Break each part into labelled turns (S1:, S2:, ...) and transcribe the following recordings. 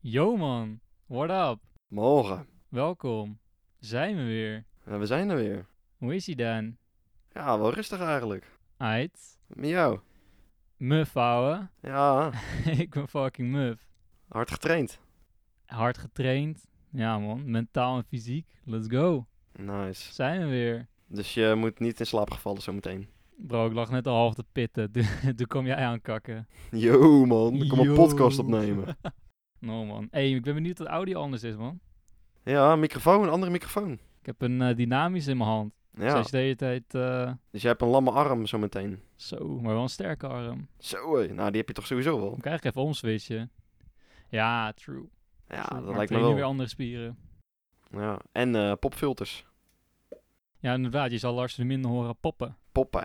S1: Yo man, what up?
S2: Morgen.
S1: Welkom. Zijn we weer.
S2: Ja, we zijn er weer.
S1: Hoe is ie dan?
S2: Ja, wel rustig eigenlijk.
S1: Ait.
S2: Met jou.
S1: Muf ouwe.
S2: Ja,
S1: ik ben fucking muf.
S2: hard getraind.
S1: Hard getraind. Ja man, mentaal en fysiek. Let's go.
S2: Nice.
S1: Zijn we weer.
S2: Dus je moet niet in slaap gevallen zometeen.
S1: Bro, ik lag net al half te pitten. Toen, toen kwam jij aankakken.
S2: Yo man, ik kom een
S1: Yo.
S2: podcast opnemen.
S1: No man. hey, ik ben benieuwd wat audio anders is man.
S2: Ja, een microfoon, een andere microfoon.
S1: Ik heb een eh, dynamisch in mijn hand. Dus
S2: Ja,
S1: als je de hele tijd... eh,
S2: dus jij hebt een lamme arm zometeen.
S1: zo, maar wel een sterke arm.
S2: Zo hé, nou die heb je toch sowieso wel?
S1: Dan krijg ik even omswitchen. Ja, true.
S2: Ja,
S1: Zo,
S2: dat
S1: maar
S2: lijkt me
S1: train je weer
S2: wel.
S1: andere spieren.
S2: Ja. En eh, popfilters.
S1: Ja, inderdaad. Je zal Lars de Minder horen poppen.
S2: Poppen.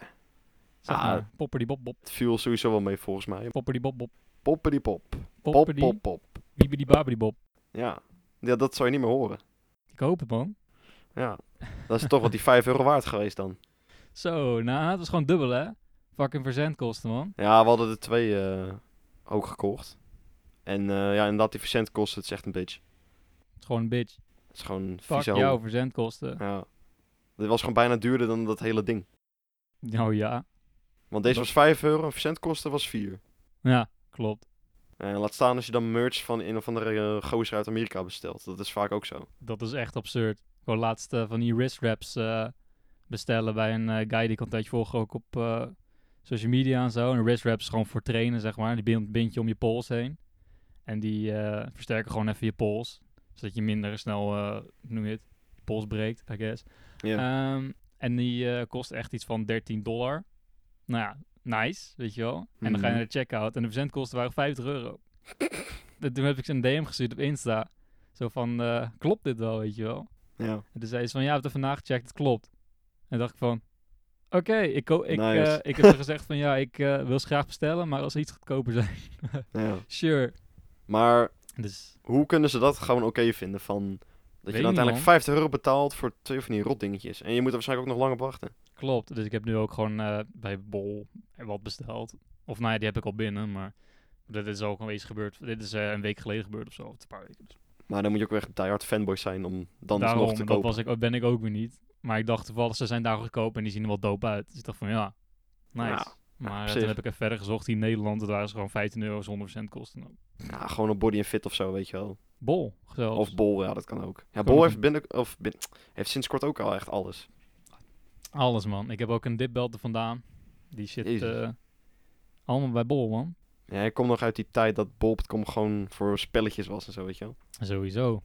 S1: Zeg
S2: Ah.
S1: maar. Popper die bop bop.
S2: Het viel sowieso wel mee volgens mij.
S1: Popper die bop bop.
S2: Poppen die pop.
S1: Popper
S2: Pop,
S1: die.
S2: pop, pop.
S1: Wiebidi babidi bop.
S2: Ja. ja, dat zou je niet meer horen.
S1: Ik hoop het, man.
S2: Ja, dat is toch wat die 5 euro waard geweest dan.
S1: Zo, nou, het was gewoon dubbel, hè? Fucking verzendkosten, man.
S2: Ja, we hadden er twee eh, ook gekocht. En eh, ja, inderdaad, die verzend kost het is echt een bitch.
S1: Het is gewoon een bitch.
S2: Het is gewoon een
S1: Fuck
S2: vieze
S1: jou,
S2: hol.
S1: verzendkosten.
S2: Ja. Dit was gewoon bijna duurder dan dat hele ding.
S1: Nou ja.
S2: Want deze
S1: Dat-
S2: was 5 euro en verzendkosten was 4.
S1: Ja, klopt.
S2: En laat staan als je dan merch van een of andere eh, gozer uit Amerika bestelt. Dat is vaak ook zo.
S1: Dat is echt absurd. Ik wou laatst eh, van die wrist wraps eh, bestellen bij een eh, guy die ik al een tijdje volg ook op eh, social media en zo. En wrist wraps is gewoon voor trainen, zeg maar. Die bind, bind je om je pols heen. En die eh, versterken gewoon even je pols. Zodat je minder snel, eh, hoe noem je het, je pols breekt, I guess.
S2: Ja.
S1: Ehm, en die eh, kost echt iets van 13 dollar. Nou ja, nice, weet je wel. En dan ga je
S2: Mhm.
S1: naar de checkout en de verzendkosten waren 50 euro. En toen heb ik ze een DM gestuurd op Insta. Zo van, eh, klopt dit wel, weet je wel?
S2: ja.
S1: En toen zei ze van, ja, we hebben het even nagecheckt, het klopt. En dacht ik van, oké, ik, ko- ik,
S2: Nice.
S1: eh, ik heb er gezegd van, ja, ik eh, wil ze graag bestellen, maar als ze iets goedkoper zijn,
S2: ja.
S1: sure.
S2: Maar
S1: Dus,
S2: hoe kunnen ze dat gewoon oké vinden? Van, dat
S1: Weet
S2: je
S1: niet,
S2: dan uiteindelijk
S1: man.
S2: 50 euro betaalt voor twee van die rotdingetjes. En je moet er waarschijnlijk ook nog lang op wachten.
S1: klopt. Dus ik heb nu ook gewoon eh, bij Bol wat besteld. Of nou ja, die heb ik al binnen, maar dit is ook alweer eens gebeurd. Dit is eh, een week geleden gebeurd of zo, of een paar weken. Dus
S2: Maar dan moet je ook weer echt diehard fanboy zijn om dan dus nog
S1: Daarom,
S2: te
S1: dat
S2: kopen.
S1: was ik, ben ik ook weer niet. Maar ik dacht toevallig, ze zijn daar goedkoop en die zien er wel dope uit. Dus ik dacht van, ja, nice.
S2: Ja,
S1: maar
S2: op
S1: eh,
S2: zich.
S1: toen heb ik even verder gezocht in Nederland. Dat waren ze gewoon 15 euro zonder kosten.
S2: Ja, gewoon op Body and Fit of zo, weet je wel.
S1: Bol, zelfs.
S2: Of Bol, ja, dat kan ook. Ja,
S1: Kan
S2: Bol
S1: ook.
S2: heeft, binnen, of bin- heeft sinds kort ook al echt alles.
S1: Alles, man. Ik heb ook een dipbelt er vandaan. Die zit
S2: Jezus.
S1: eh, allemaal bij Bol, man.
S2: Ja, ik kom nog uit die tijd dat Bol.com gewoon voor spelletjes was en zo, weet je wel.
S1: Sowieso.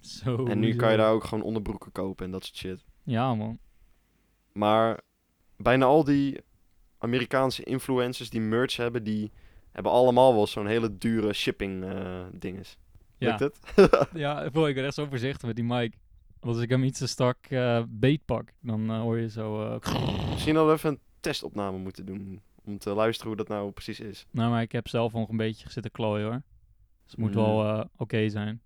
S1: Sowieso.
S2: En nu kan je daar ook gewoon onderbroeken kopen en dat soort shit.
S1: Ja, man.
S2: Maar bijna al die Amerikaanse influencers die merch hebben, die hebben allemaal wel zo'n hele dure shipping eh dinges.
S1: Ja,
S2: Lukt het?
S1: ja bro, ik ben echt zo voorzichtig met die mic. Want als ik hem iets te strak eh, beetpak, dan eh, hoor je zo... eh,
S2: Misschien hadden we even een testopname moeten doen. Om te luisteren hoe dat nou precies is.
S1: Nou, maar ik heb zelf nog een beetje zitten klooien, hoor. Dus het moet
S2: Mm.
S1: wel eh, oké zijn.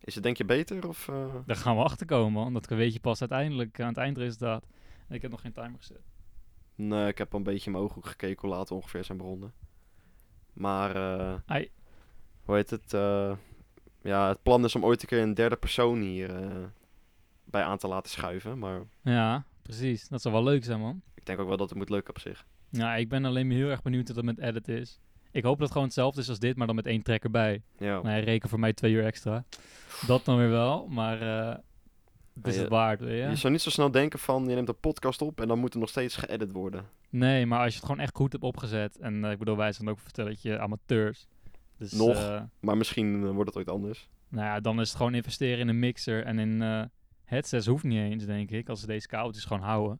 S2: Is het denk je beter of... eh?
S1: Daar gaan we achter komen, man. Dat weet je pas uiteindelijk aan het eindresultaat. En ik heb nog geen timer gezet.
S2: Nee, ik heb wel een beetje in mijn ooghoek gekeken hoe laat we ongeveer zijn begonnen. Maar, eh,
S1: Ai.
S2: hoe heet het? eh, ja, het plan is om ooit een keer een derde persoon hier eh, bij aan te laten schuiven. Maar
S1: Ja, precies. Dat zou wel leuk zijn, man.
S2: ik denk ook wel dat het moet lukken op zich.
S1: Nou, ik ben alleen maar heel erg benieuwd hoe dat met edit is. Ik hoop dat het gewoon hetzelfde is als dit, maar dan met één track erbij.
S2: Ja,
S1: Nou, ja, reken voor mij twee uur extra. Dat dan weer wel, maar eh, het is
S2: Ja,
S1: het waard, weet je?
S2: Je zou niet zo snel denken van, je neemt een podcast op en dan moet er nog steeds geëdit worden.
S1: Nee, maar als je het gewoon echt goed hebt opgezet. En eh, ik bedoel, wij zijn ook vertelletje amateurs. Dus,
S2: Nog.
S1: eh,
S2: Maar misschien eh, wordt het ooit anders.
S1: nou ja, dan is het gewoon investeren in een mixer en in eh, headsets hoeft niet eens, denk ik. Als ze deze kabeltjes gewoon houden.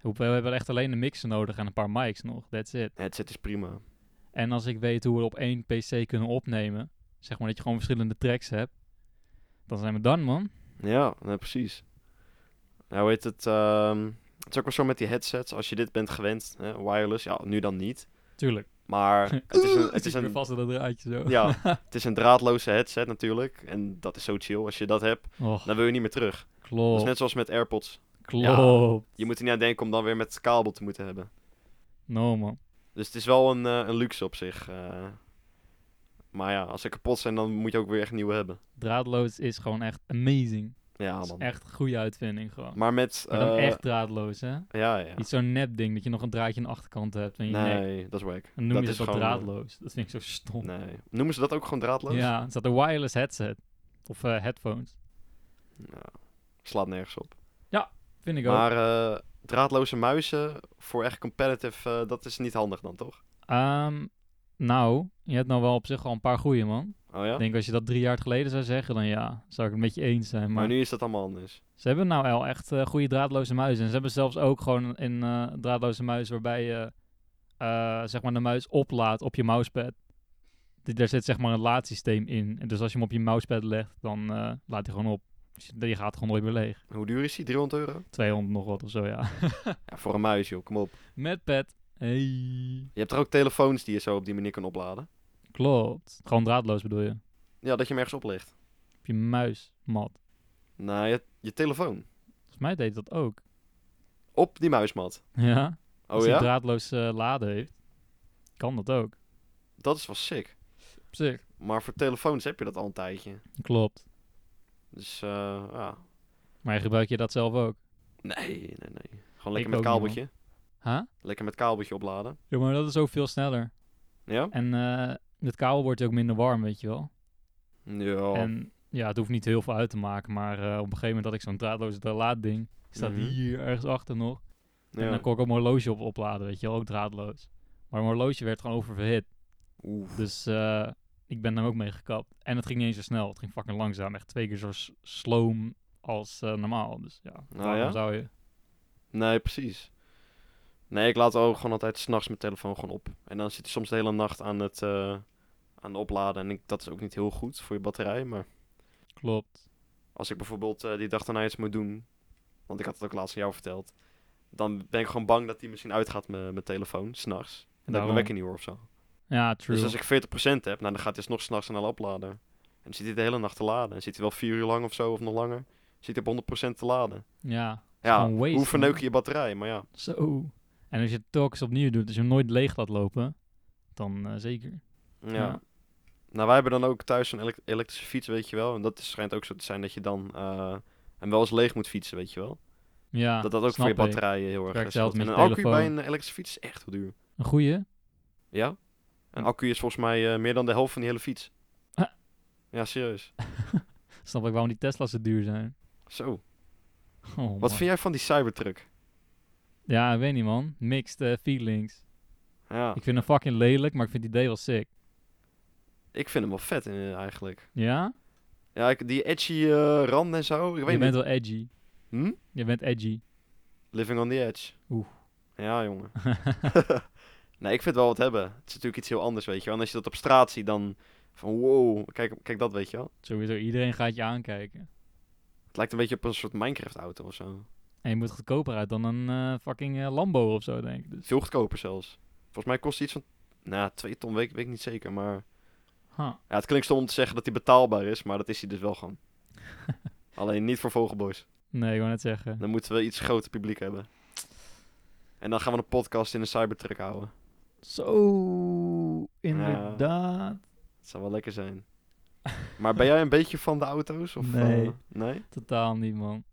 S1: We we hebben echt alleen een mixer nodig en een paar mics nog. That's it.
S2: Het zit is prima.
S1: En als ik weet hoe we op één PC kunnen opnemen, zeg maar dat je gewoon verschillende tracks hebt, dan zijn we dan, man.
S2: Ja, nee, precies. Nou, hoe heet het? ehm, het is ook wel zo met die headsets. Als je dit bent gewend, hè, wireless, ja, nu dan niet.
S1: Tuurlijk.
S2: Maar het is een, het is
S1: weer
S2: een
S1: vast aan dat draadje zo.
S2: Ja, het is een draadloze headset natuurlijk. En dat is zo chill. Als je dat hebt,
S1: Och,
S2: dan wil je niet meer terug. Dat
S1: klopt.
S2: is net zoals met AirPods.
S1: Klopt.
S2: Je moet er niet aan denken om dan weer met kabel te moeten hebben.
S1: No, man.
S2: Dus het is wel een, eh, een luxe op zich. eh. Maar ja, als ze kapot zijn, dan moet je ook weer echt nieuwe hebben.
S1: Draadloos is gewoon echt amazing.
S2: Ja,
S1: Dat is
S2: man.
S1: echt een goede uitvinding gewoon.
S2: Maar met...
S1: Maar dan
S2: eh,
S1: echt draadloos, hè?
S2: Ja, ja.
S1: Niet zo'n nep ding dat je nog een draadje aan de achterkant hebt en je nek.
S2: Nee, dat is wack.
S1: Dan noem je
S2: is
S1: dat wel
S2: gewoon, eh,
S1: draadloos. Dat vind ik zo stom.
S2: Nee. Noemen ze dat ook gewoon draadloos?
S1: Ja, het staat een wireless headset. Of eh, headphones.
S2: Ja. Slaat nergens op.
S1: Vind ik ook.
S2: Maar eh, draadloze muizen voor echt competitive, eh, dat is niet handig dan, toch?
S1: Ehm, nou, je hebt nou wel op zich al een paar goeie, man.
S2: Oh ja?
S1: Ik denk als je dat drie jaar geleden zou zeggen, dan ja, zou ik het met je eens zijn. Maar,
S2: Maar nu is dat allemaal anders.
S1: ze hebben nou al echt eh, goede draadloze muizen. En ze hebben zelfs ook gewoon een eh, draadloze muis waarbij je eh, zeg maar de muis oplaadt op je mousepad. Die- Daar zit zeg maar een laadsysteem in. En dus als je hem op je mousepad legt, dan eh, laat hij gewoon op. Dus je- die gaat gewoon nooit meer leeg.
S2: Hoe duur is die? 300 euro?
S1: 200 nog wat of zo, ja.
S2: Ja, voor een muis, joh. Kom op.
S1: Met pet. Hey.
S2: Je hebt er ook telefoons die je zo op die manier kan opladen.
S1: Klopt. Gewoon draadloos bedoel je.
S2: Ja, dat je hem ergens oplicht.
S1: Op je muismat.
S2: Nou, je, je telefoon.
S1: Volgens mij deed dat ook.
S2: Op die muismat.
S1: Ja.
S2: Oh
S1: Als hij
S2: ja?
S1: draadloos eh, laden heeft, kan dat ook.
S2: Dat is wel sick.
S1: Op zich.
S2: Maar voor telefoons heb je dat al een tijdje.
S1: Klopt.
S2: Dus, eh, ja.
S1: Maar gebruik je dat zelf ook?
S2: Nee, nee, nee. Gewoon lekker met
S1: ook niet,
S2: kabeltje.
S1: Huh?
S2: lekker met kabeltje opladen.
S1: Ja, maar dat is ook veel sneller.
S2: Ja?
S1: En eh, met kabel wordt hij ook minder warm, weet je wel.
S2: Ja.
S1: En ja, het hoeft niet heel veel uit te maken. Maar eh, op een gegeven moment had ik zo'n draadloze laadding. Staat
S2: Mhm.
S1: hier ergens achter nog. En
S2: ja.
S1: dan kon ik ook mijn horloge op opladen, weet je wel. Ook draadloos. Maar mijn horloge werd gewoon oververhit.
S2: Oeh.
S1: Dus eh, ik ben daar ook mee gekapt. En het ging niet eens zo snel. Het ging fucking langzaam. Echt twee keer zo s- sloom als eh, normaal. Dus ja, waarom
S2: Nou ja?
S1: zou je...
S2: Nee, precies. Nee, ik laat ook gewoon altijd s'nachts mijn telefoon gewoon op. En dan zit hij soms de hele nacht aan het eh, aan de opladen. En ik, dat is ook niet heel goed voor je batterij. Maar
S1: Klopt.
S2: als ik bijvoorbeeld eh, die dag daarna iets moet doen. Want ik had het ook laatst aan jou verteld. Dan ben ik gewoon bang dat die misschien uitgaat met mijn telefoon, s'nachts. En dat ik
S1: Daarom.
S2: mijn wekker niet hoor of zo.
S1: Ja, true.
S2: Dus als ik 40% heb, nou, dan gaat hij nog s'nachts aan de oplader. En dan zit hij de hele nacht te laden. En zit hij wel vier uur lang of zo, of nog langer. Zit hij op 100% te laden.
S1: Ja,
S2: Ja,
S1: gewoon waste,
S2: hoe verneuk
S1: man.
S2: je je batterij? Maar ja,
S1: zo. En als je het telkens opnieuw doet, als je hem nooit leeg laat lopen, dan eh, zeker.
S2: ja.
S1: Ja.
S2: Nou, wij hebben dan ook thuis een elek- elektrische fiets, weet je wel. En dat is- schijnt ook zo te zijn dat je dan eh, hem wel eens leeg moet fietsen, weet je wel.
S1: Ja,
S2: dat dat ook
S1: snap
S2: voor je
S1: ik.
S2: batterij eh, heel erg
S1: werkt
S2: eh, scheelt.
S1: zelfs met
S2: En
S1: je
S2: een accu bij
S1: telefoon.
S2: een elektrische fiets is echt heel duur.
S1: Een goeie?
S2: Ja? Een accu is volgens mij eh, meer dan de helft van die hele fiets.
S1: Ah.
S2: Ja, serieus.
S1: Snap ik waarom die Tesla's zo duur zijn.
S2: Zo.
S1: Oh,
S2: Wat
S1: man.
S2: vind jij van die Cybertruck?
S1: Ja, ik weet niet man. Mixed eh, feelings.
S2: Ja,
S1: Ik vind hem fucking lelijk, maar ik vind het idee wel sick.
S2: ik vind hem wel vet eh, eigenlijk.
S1: Ja?
S2: Ja, ik, die edgy eh, rand en zo. Ik
S1: Je
S2: weet
S1: bent
S2: niet.
S1: wel edgy.
S2: Hm?
S1: Je bent edgy.
S2: Living on the edge.
S1: Oeh.
S2: Ja, jongen. nee, ik vind wel wat hebben. Het is natuurlijk iets heel anders, weet je wel. En als je dat op straat ziet, dan van wow, kijk, kijk dat, weet je wel.
S1: Sowieso, iedereen gaat je aankijken.
S2: Het lijkt een beetje op een soort Minecraft-auto of zo.
S1: En je moet goedkoper uit dan een eh, fucking eh, Lambo of zo, denk ik. Dus,
S2: Veel goedkoper zelfs. Volgens mij kost die iets van, nou, twee ton, weet, ik- weet ik niet zeker. Maar
S1: huh.
S2: ja, het klinkt stom om te zeggen dat die betaalbaar is, maar dat is hij dus wel gewoon. Alleen niet voor vogelboys.
S1: Nee, ik wou net zeggen.
S2: Dan moeten we iets groter publiek hebben. En dan gaan we een podcast in een cybertruck houden.
S1: Zo, inderdaad.
S2: Het zou wel lekker zijn. Maar ben jij een beetje van de auto's? Of, eh,
S1: Nee.
S2: nee?
S1: Totaal niet, man.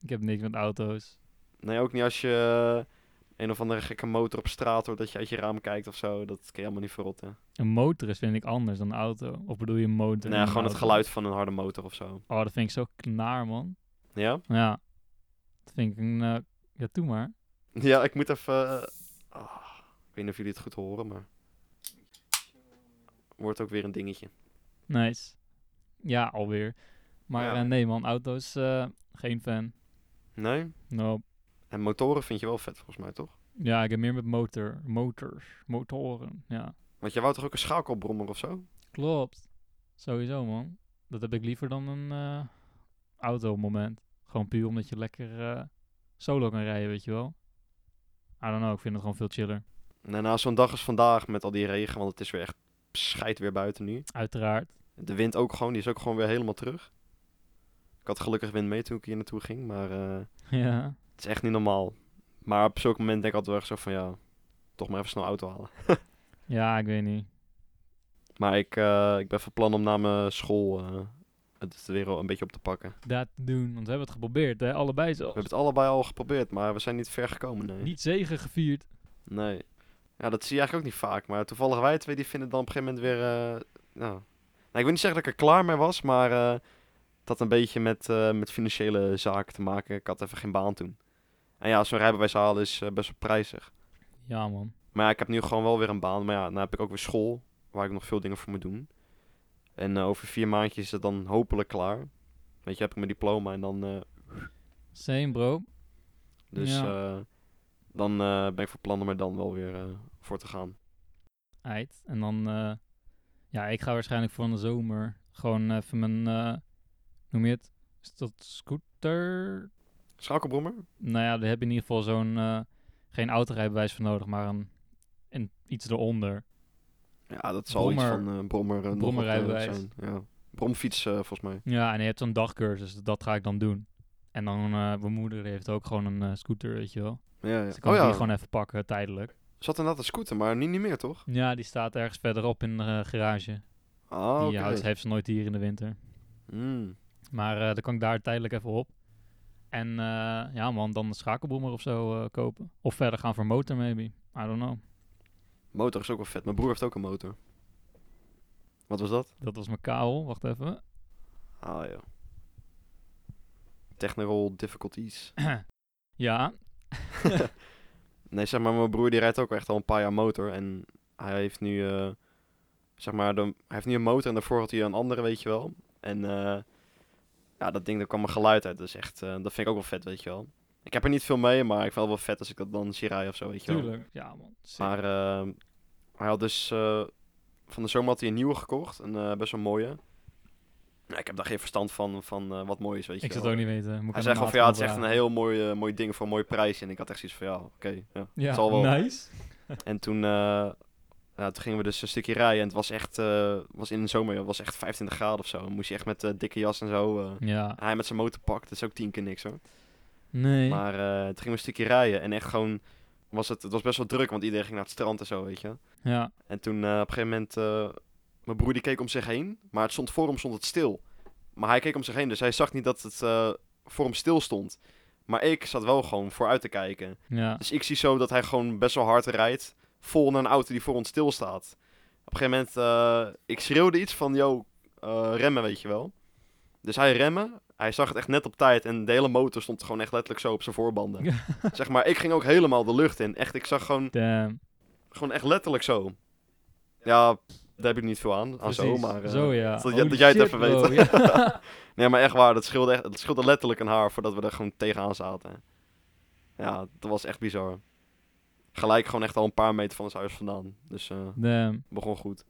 S1: Ik heb niks met auto's.
S2: Nee, ook niet als je eh, een of andere gekke motor op straat hoort dat je uit je raam kijkt of zo. Dat kan je helemaal niet verrotten.
S1: Een motor is vind ik anders dan een auto. Of bedoel je een motor?
S2: Nee,
S1: en een
S2: Nou gewoon het
S1: auto?
S2: geluid van een harde motor of zo.
S1: Oh, dat vind ik zo knaar, man.
S2: Ja?
S1: Ja. Dat vind ik een... eh, ja, doe maar.
S2: Ja, ik moet even... eh, ah, ik weet niet of jullie het goed horen, maar... Wordt ook weer een dingetje.
S1: Nice. Ja, alweer. Maar
S2: Ja.
S1: eh, nee, man. Auto's, eh, geen fan.
S2: Nee?
S1: Nope.
S2: En motoren vind je wel vet volgens mij, toch?
S1: Ja, ik heb meer met motor. Motors. Motoren, ja.
S2: Want je wou toch ook een schakelbrommer of zo?
S1: Klopt. Sowieso, man. Dat heb ik liever dan een eh auto-moment. Gewoon puur omdat je lekker eh, solo kan rijden, weet je wel. I don't know, ik vind het gewoon veel chiller.
S2: Nou, na zo'n dag als vandaag met al die regen, want het is weer echt schijt weer buiten nu.
S1: Uiteraard.
S2: De wind ook gewoon, die is ook gewoon weer helemaal terug. Ik had gelukkig wind mee toen ik hier naartoe ging, maar eh,
S1: ja.
S2: het is echt niet normaal. Maar op zulk moment denk ik altijd wel echt zo van ja, toch maar even snel auto halen.
S1: ja, ik weet niet.
S2: Maar ik, eh, ik ben van plan om na mijn school eh, het weer al een beetje op te pakken.
S1: dat te doen. Want we hebben het geprobeerd, hè? allebei
S2: We
S1: zelfs.
S2: hebben het allebei al geprobeerd, maar we zijn niet ver gekomen, nee.
S1: Niet zegen gevierd.
S2: Nee. Ja, dat zie je eigenlijk ook niet vaak. Maar toevallig wij twee, die vinden dan op een gegeven moment weer... eh, nou. nou, ik wil niet zeggen dat ik er klaar mee was, maar eh, het had een beetje met, eh, met financiële zaken te maken. Ik had even geen baan toen. En ja, zo'n rijbewijs halen is eh, best wel prijzig.
S1: Ja, man.
S2: Maar ja, ik heb nu gewoon wel weer een baan. Maar ja, dan heb ik ook weer school, waar ik nog veel dingen voor moet doen. En eh, over vier maandjes is het dan hopelijk klaar. Weet je, heb ik mijn diploma en dan... eh,
S1: Same, bro.
S2: dus
S1: Ja.
S2: eh, dan eh, ben ik van plan om er dan wel weer eh, voor te gaan.
S1: Eit. En dan, eh, ja, ik ga waarschijnlijk voor in de zomer gewoon even mijn, eh noem je het? Is dat scooter?
S2: Schakelbrommer?
S1: Nou ja, daar heb je in ieder geval zo'n, eh, geen autorijbewijs voor nodig, maar een, een iets eronder.
S2: Ja, dat zal iets
S1: Brommer-
S2: van eh brommer, eh,
S1: brommerrijbewijs.
S2: nog wat, eh, zijn. Ja. Bromfiets eh, volgens mij.
S1: Ja, en je hebt zo'n dagcursus, dat ga ik dan doen. En dan, eh mijn moeder die heeft ook gewoon een eh, scooter, weet je wel.
S2: Ja, ja.
S1: Dus ik kan
S2: Oh ja,
S1: die gewoon even pakken, tijdelijk.
S2: zat inderdaad een scooter, maar nu niet meer toch?
S1: Ja, die staat ergens verderop in de eh, garage.
S2: Ah,
S1: die eh,
S2: oké.
S1: houdt, heeft ze nooit hier in de winter.
S2: Hmm.
S1: Maar eh, dan kan ik daar tijdelijk even op. En eh, ja man, dan een schakelboemer of zo eh, kopen. Of verder gaan voor motor maybe. I don't know.
S2: Motor is ook wel vet. Mijn broer heeft ook een motor. Wat was dat?
S1: Dat was mijn kabel, wacht even.
S2: Ah ja. Technical difficulties.
S1: Ja,
S2: Nee, zeg maar, mijn broer die rijdt ook echt al een paar jaar motor. En hij heeft nu, eh, zeg maar, de, hij heeft nu een motor en daarvoor had hij een andere, weet je wel. En eh, ja, dat ding, daar kwam een geluid uit. Dus echt, eh, dat vind ik ook wel vet, weet je wel. Ik heb er niet veel mee, maar ik vind het wel vet als ik dat dan zie rijden of zo, weet je wel.
S1: tuurlijk. Ja man, sick.
S2: Maar eh, hij had dus, eh, van de zomer had hij een nieuwe gekocht. Een eh, best wel mooie. Nou, ik heb daar geen verstand van, van eh, wat mooi is, weet je
S1: ik zou
S2: wel.
S1: het ook niet weten. Moet
S2: Hij
S1: ik
S2: zei
S1: aan
S2: gewoon
S1: de
S2: van ja,
S1: maat
S2: het is echt een
S1: vragen.
S2: heel mooi, eh, mooi ding voor een mooi prijs. En ik had echt zoiets van ja, oké, ja, het zal wel.
S1: Ja, nice.
S2: En toen, eh, ja, toen gingen we dus een stukje rijden. En het was echt, eh, was in de zomer, joh, het was echt 25 graden of zo. Dan moest je echt met eh, dikke jas en zo. eh,
S1: Ja,
S2: hij met zijn motorpak, dat is ook tien keer niks hoor.
S1: nee.
S2: Maar eh, toen gingen we een stukje rijden. En echt gewoon, was het, het was best wel druk, want iedereen ging naar het strand en zo, weet je.
S1: Ja,
S2: En toen eh, op een gegeven moment, eh, mijn broer die keek om zich heen. Maar het stond voor hem stond het stil. Maar hij keek om zich heen, dus hij zag niet dat het eh, voor hem stil stond. Maar ik zat wel gewoon vooruit te kijken.
S1: ja.
S2: Dus ik zie zo dat hij gewoon best wel hard rijdt. Vol naar een auto die voor ons stilstaat. Op een gegeven moment, eh, ik schreeuwde iets van, yo, eh, remmen, weet je wel. Dus hij remmen. Hij zag het echt net op tijd en de hele motor stond gewoon echt letterlijk zo op zijn voorbanden. zeg maar, ik ging ook helemaal de lucht in. Echt, ik zag gewoon,
S1: Damn.
S2: gewoon echt letterlijk zo. Ja, daar heb ik niet veel aan, aan zo,
S1: Precies.
S2: maar... eh,
S1: zo ja.
S2: dat jij-
S1: Holy
S2: dat jij het
S1: shit,
S2: even
S1: bro.
S2: weet.
S1: Ja.
S2: Nee, maar echt waar, dat scheelde, echt, dat scheelde letterlijk een haar voordat we er gewoon tegenaan zaten. Ja, dat was echt bizar. Gelijk gewoon echt al een paar meter van ons huis vandaan. Dus eh
S1: Damn.
S2: begon goed.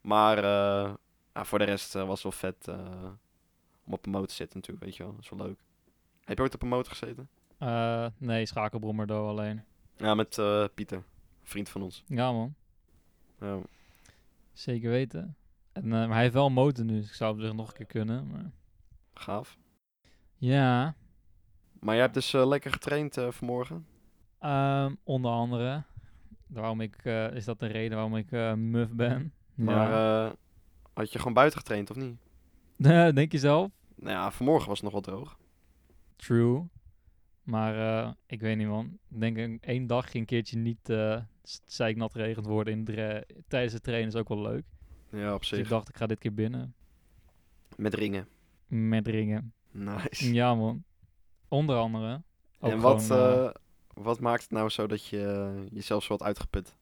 S2: Maar eh, ja, voor de rest eh, was het wel vet eh, om op een motor te zitten natuurlijk, weet je wel. Dat is wel leuk. Heb je ooit op een motor gezeten?
S1: Eh, nee, schakelbrommer door alleen.
S2: Ja, met eh, Pieter, een vriend van ons.
S1: Ja man,
S2: Ja.
S1: zeker weten. En, eh, maar hij heeft wel een motor nu, dus ik zou hem zich nog een keer kunnen. Maar...
S2: Gaaf.
S1: Ja,
S2: Maar jij hebt dus eh, lekker getraind eh, vanmorgen.
S1: ehm, onder andere. Waarom ik, eh, is dat de reden waarom ik eh, muf ben?
S2: Maar
S1: ja.
S2: eh, had je gewoon buiten getraind of niet?
S1: eh, Denk je zelf?
S2: Nou ja, vanmorgen was het nog wel droog.
S1: True. Maar eh, ik weet niet man. Ik denk een, één dag ging een keertje niet eh zeiknat regend worden in dre- tijdens het trainen is ook wel leuk.
S2: Ja, op
S1: Dus ik
S2: zich.
S1: dacht ik ga dit keer binnen
S2: Met ringen.
S1: met ringen.
S2: Nice.
S1: Ja man. Onder andere. Mm, Ook
S2: en wat,
S1: gewoon, eh,
S2: eh, wat maakt het nou zo dat je eh, jezelf zo wat uitgeput?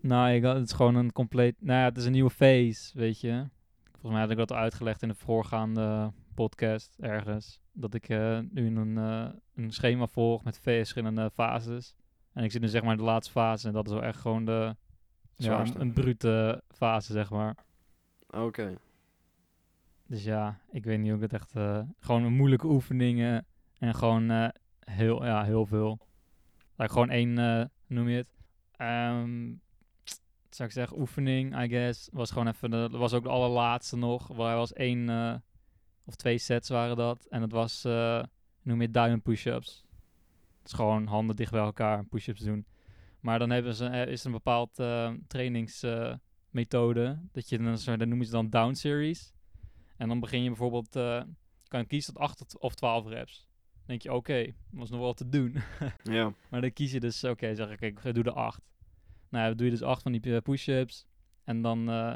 S1: Nou, ik, had- het is gewoon een compleet... Nou ja, het is een nieuwe phase, weet je. Volgens mij had ik dat al uitgelegd in de voorgaande podcast ergens. Dat ik eh, nu een, eh, een schema volg met vijf verschillende fases. En ik zit nu zeg maar in de laatste fase. En dat is wel echt gewoon de... Ja,
S2: Zwaarste.
S1: een, een brute fase, zeg maar.
S2: Oké.
S1: Dus ja, ik weet niet hoe ik het echt... eh, gewoon moeilijke oefeningen. En gewoon eh, heel, ja, heel veel. Like gewoon één, eh, noem je het? Ehm, wat zou ik zeggen, oefening, I guess. Was gewoon even, de, dat was ook de allerlaatste nog. Waar was één eh, of twee sets waren dat. En dat was, eh, noem je het, diamond push-ups. Het is gewoon handen dicht bij elkaar, push-ups doen. Maar dan hebben ze, eh, is er een bepaald ehm, trainingsmethode methode. Dat je dan, zo- dat noemen ze dan down series. En dan begin je bijvoorbeeld, eh, kan je kiezen tot 8 tot- of 12 reps. Dan denk je, oké, dat was nog wel te doen.
S2: Ja.
S1: Maar dan kies je dus, oké, zeg ik, ik doe de acht. Nou, ja, dan doe je dus acht van die eh, push-ups. En dan eh,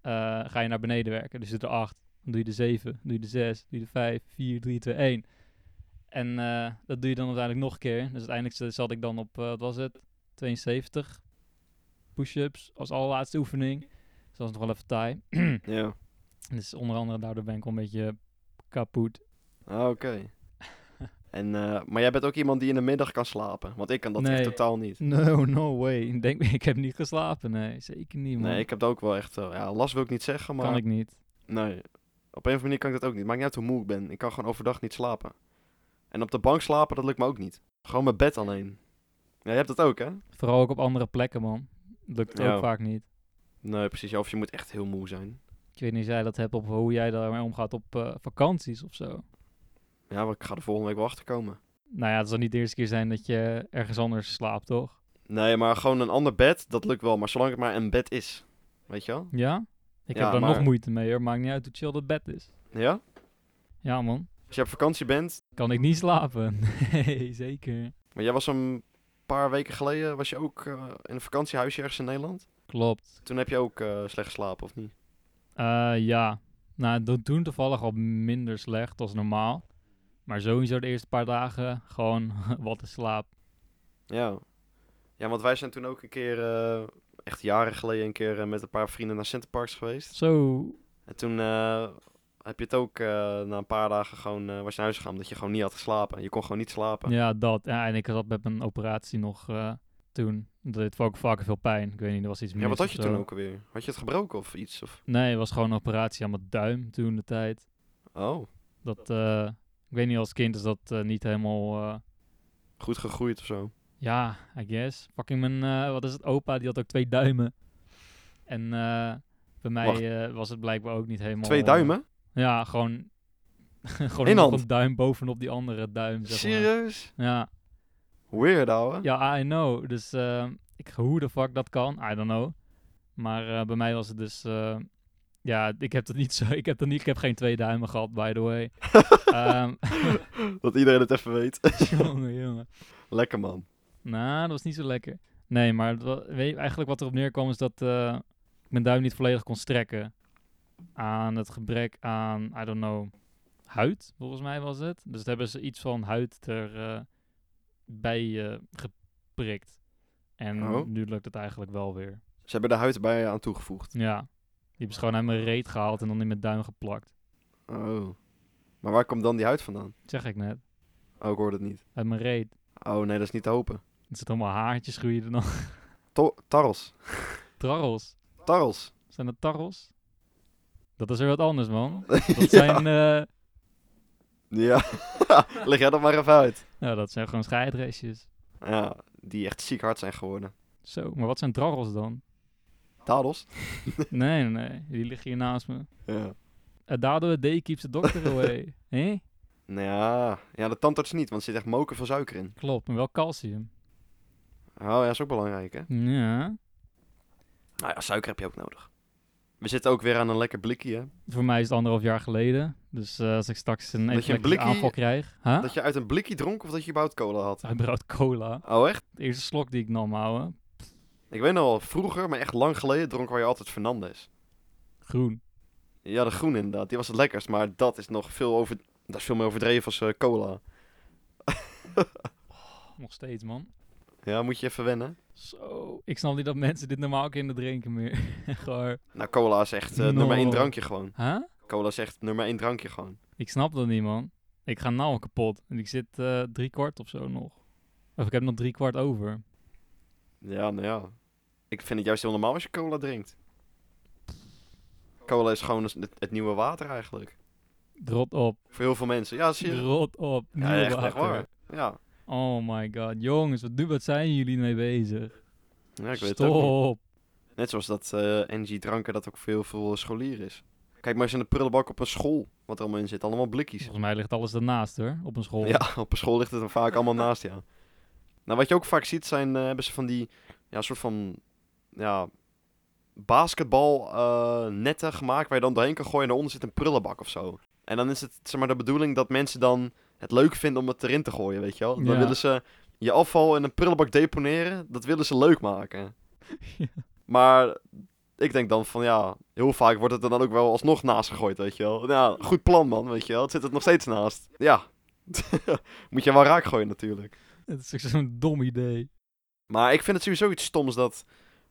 S1: eh, ga je naar beneden werken. Dus je doet de acht, dan doe je de zeven, dan doe je de zes, dan doe je de vijf, vier, drie, twee, één. En eh, dat doe je dan uiteindelijk nog een keer. Dus uiteindelijk z- zat ik dan op, eh, wat was het, 72 push-ups als allerlaatste oefening. Dus dat was nog wel even taai.
S2: Ja.
S1: Dus onder andere daardoor ben ik wel een beetje kapot.
S2: Ah, Oké. En, eh, maar jij bent ook iemand die in de middag kan slapen. Want ik kan dat echt
S1: Nee.
S2: totaal niet.
S1: No, no way. Denk, ik heb niet geslapen, nee. Zeker niet, man.
S2: Nee, ik heb dat ook wel echt... eh, ja, last wil ik niet zeggen, maar...
S1: Kan ik niet.
S2: Nee, op een of andere manier kan ik dat ook niet. Maakt niet uit hoe moe ik ben. Ik kan gewoon overdag niet slapen. En op de bank slapen, dat lukt me ook niet. Gewoon mijn bed alleen. Ja, je hebt dat ook, hè?
S1: Vooral ook op andere plekken, man. Lukt
S2: Ja.
S1: ook vaak niet.
S2: Nee, precies. Ja, of je moet echt heel moe zijn.
S1: Ik weet niet of jij dat hebt op hoe jij daarmee omgaat op eh, vakanties of zo.
S2: Ja, maar ik ga er volgende week wel achter komen.
S1: Nou ja, het zal niet de eerste keer zijn dat je ergens anders slaapt, toch?
S2: Nee, maar gewoon een ander bed, dat lukt wel. Maar zolang het maar een bed is. Weet je wel?
S1: Ja? Ik
S2: Ja,
S1: heb daar nog
S2: maar-
S1: moeite mee, hoor. Maakt niet uit hoe chill dat bed is.
S2: Ja?
S1: Ja, man.
S2: Als je op vakantie bent,
S1: Kan ik niet slapen? Nee, zeker.
S2: maar jij was een paar weken geleden, was je ook eh, in een vakantiehuisje ergens in Nederland?
S1: Klopt.
S2: Toen heb je ook eh, slecht geslapen, of niet?
S1: Eh, ja. Nou, do- toen toevallig al minder slecht als normaal. Maar sowieso de eerste paar dagen gewoon wat een slaap.
S2: Ja. Ja, want wij zijn toen ook een keer, eh, echt jaren geleden, een keer eh, met een paar vrienden naar Centerparks geweest.
S1: Zo,
S2: En toen eh, heb je het ook eh, na een paar dagen gewoon, eh, was je naar huis gegaan omdat je gewoon niet had geslapen. Je kon gewoon niet slapen.
S1: Ja, dat. Ja, en ik had met mijn operatie nog eh, toen. Dit was ook vaker veel pijn. Ik weet niet, er was iets mis.
S2: Ja, wat had
S1: of
S2: je
S1: zo.
S2: toen ook alweer? Had je het gebroken of iets? Of...
S1: Nee, het was gewoon een operatie aan mijn duim toen de tijd.
S2: Oh,
S1: Dat, eh, ik weet niet, als kind is dat eh, niet helemaal... eh,
S2: goed gegroeid of zo.
S1: ja, I guess. Fucking mijn, eh, wat is het, opa, die had ook twee duimen. En eh, bij
S2: Wacht.
S1: mij eh, was het blijkbaar ook niet helemaal...
S2: Twee duimen?
S1: Ja, gewoon... gewoon
S2: Eén
S1: nog
S2: hand?
S1: een duim bovenop die andere duim, zeg maar.
S2: Serieus?
S1: Ja.
S2: Weird, ouwe.
S1: Ja, I know. Dus eh, ik, hoe de fuck dat kan, I don't know. Maar eh, bij mij was het dus... eh, ja, ik heb dat niet zo... Ik heb, dat niet, ik heb geen twee duimen gehad, by the way. Ehm,
S2: Dat iedereen het even weet.
S1: jongen, jongen.
S2: Lekker man.
S1: Nou, dat was niet zo lekker. Nee, maar het wa- weet je, eigenlijk wat erop neerkwam is dat eh, ik mijn duim niet volledig kon strekken. Aan het gebrek aan, I don't know, huid, volgens mij was het. Dus daar hebben ze iets van huid erbij bij eh, geprikt. En
S2: Oh.
S1: nu lukt het eigenlijk wel weer.
S2: Ze hebben de huid bij je aan toegevoegd.
S1: Ja. Die hebben ze gewoon uit mijn reet gehaald en dan in mijn duim geplakt.
S2: Oh. Maar waar komt dan die huid vandaan?
S1: Dat zeg ik net.
S2: Oh, ik hoor het niet.
S1: Uit mijn reet.
S2: Oh nee, dat is niet te hopen.
S1: Er zitten allemaal haartjes groeien er nog.
S2: To- tarrels.
S1: Trarrels.
S2: Tarrels.
S1: Zijn dat tarrels? Dat is weer wat anders, man.
S2: Ja.
S1: Dat zijn... eh,
S2: Ja, leg jij dat maar even uit.
S1: nou, dat zijn gewoon scheidreesjes.
S2: Ja, die echt ziek hard zijn geworden.
S1: Zo, maar wat zijn trarrels dan?
S2: Dadels?
S1: Nee, nee, nee. Die liggen hier naast me.
S2: Ja.
S1: Eh, Daardoor day keeps the doctor away. Hé?
S2: Nou ja, ja, de tandarts niet, want er zit echt moker van suiker in.
S1: Klopt, maar wel calcium.
S2: Oh ja, is ook belangrijk hè.
S1: Ja.
S2: Nou ja, suiker heb je ook nodig. We zitten ook weer aan een lekker blikje hè.
S1: Voor mij is het anderhalf jaar geleden. Dus eh, als ik straks een
S2: Dat je een
S1: epileptische
S2: blikkie-
S1: aanval krijg... Huh?
S2: Dat je uit een blikje dronk of dat je überhaupt cola had.
S1: Uitbrood cola.
S2: Oh echt?
S1: De eerste slok die ik nam, ouwe.
S2: Ik weet nog wel, vroeger, maar echt lang geleden dronken je altijd Fernandez.
S1: Groen.
S2: Ja, de groen inderdaad, die was het lekkerst, maar dat is nog veel over... Dat is veel meer overdreven als eh, cola.
S1: Nog steeds, man.
S2: Ja, moet je even wennen.
S1: Zo. Ik snap niet dat mensen dit normaal kinderen drinken meer. Gewoon.
S2: Nou, cola is echt eh,
S1: No.
S2: nummer één drankje gewoon.
S1: Huh?
S2: Cola is echt nummer één drankje gewoon.
S1: Ik snap dat niet, man. Ik ga nou al kapot. En ik zit eh, drie kwart of zo nog. Of ik heb nog drie kwart over.
S2: Ja, nou ja. Ik vind het juist heel normaal als je cola drinkt. Cola is gewoon het, het nieuwe water eigenlijk.
S1: Rot op.
S2: Voor heel veel mensen. Ja, zie je.
S1: Rot op. Nieuw
S2: Ja, echt, echt
S1: water.
S2: waar. Ja,
S1: Oh my god. Jongens, wat, nu- wat zijn jullie mee bezig?
S2: ja ik weet het ook niet.
S1: Stop.
S2: Net zoals dat eh NG dranken dat ook voor heel veel scholieren is. Kijk maar eens in de prullenbak op een school. Wat er allemaal in zit. Allemaal blikjes.
S1: Volgens mij ligt alles daarnaast, hoor. Op een school.
S2: Ja, op een school ligt het er vaak allemaal naast, ja. Nou, wat je ook vaak ziet zijn, eh, hebben ze van die, ja, soort van, ja, basketbal eh, netten gemaakt waar je dan doorheen kan gooien en daaronder zit een prullenbak of zo. En dan is het zeg maar de bedoeling dat mensen dan het leuk vinden om het erin te gooien, weet je wel. Dan
S1: Ja.
S2: willen ze je afval in een prullenbak deponeren, dat willen ze leuk maken.
S1: Ja.
S2: Maar ik denk dan van ja, heel vaak wordt het er dan ook wel alsnog naast gegooid, weet je wel. Ja, goed plan man, weet je wel. Het zit het nog steeds naast. Ja, moet je wel raak gooien natuurlijk.
S1: Het is echt zo'n dom idee.
S2: Maar ik vind het sowieso iets stoms dat,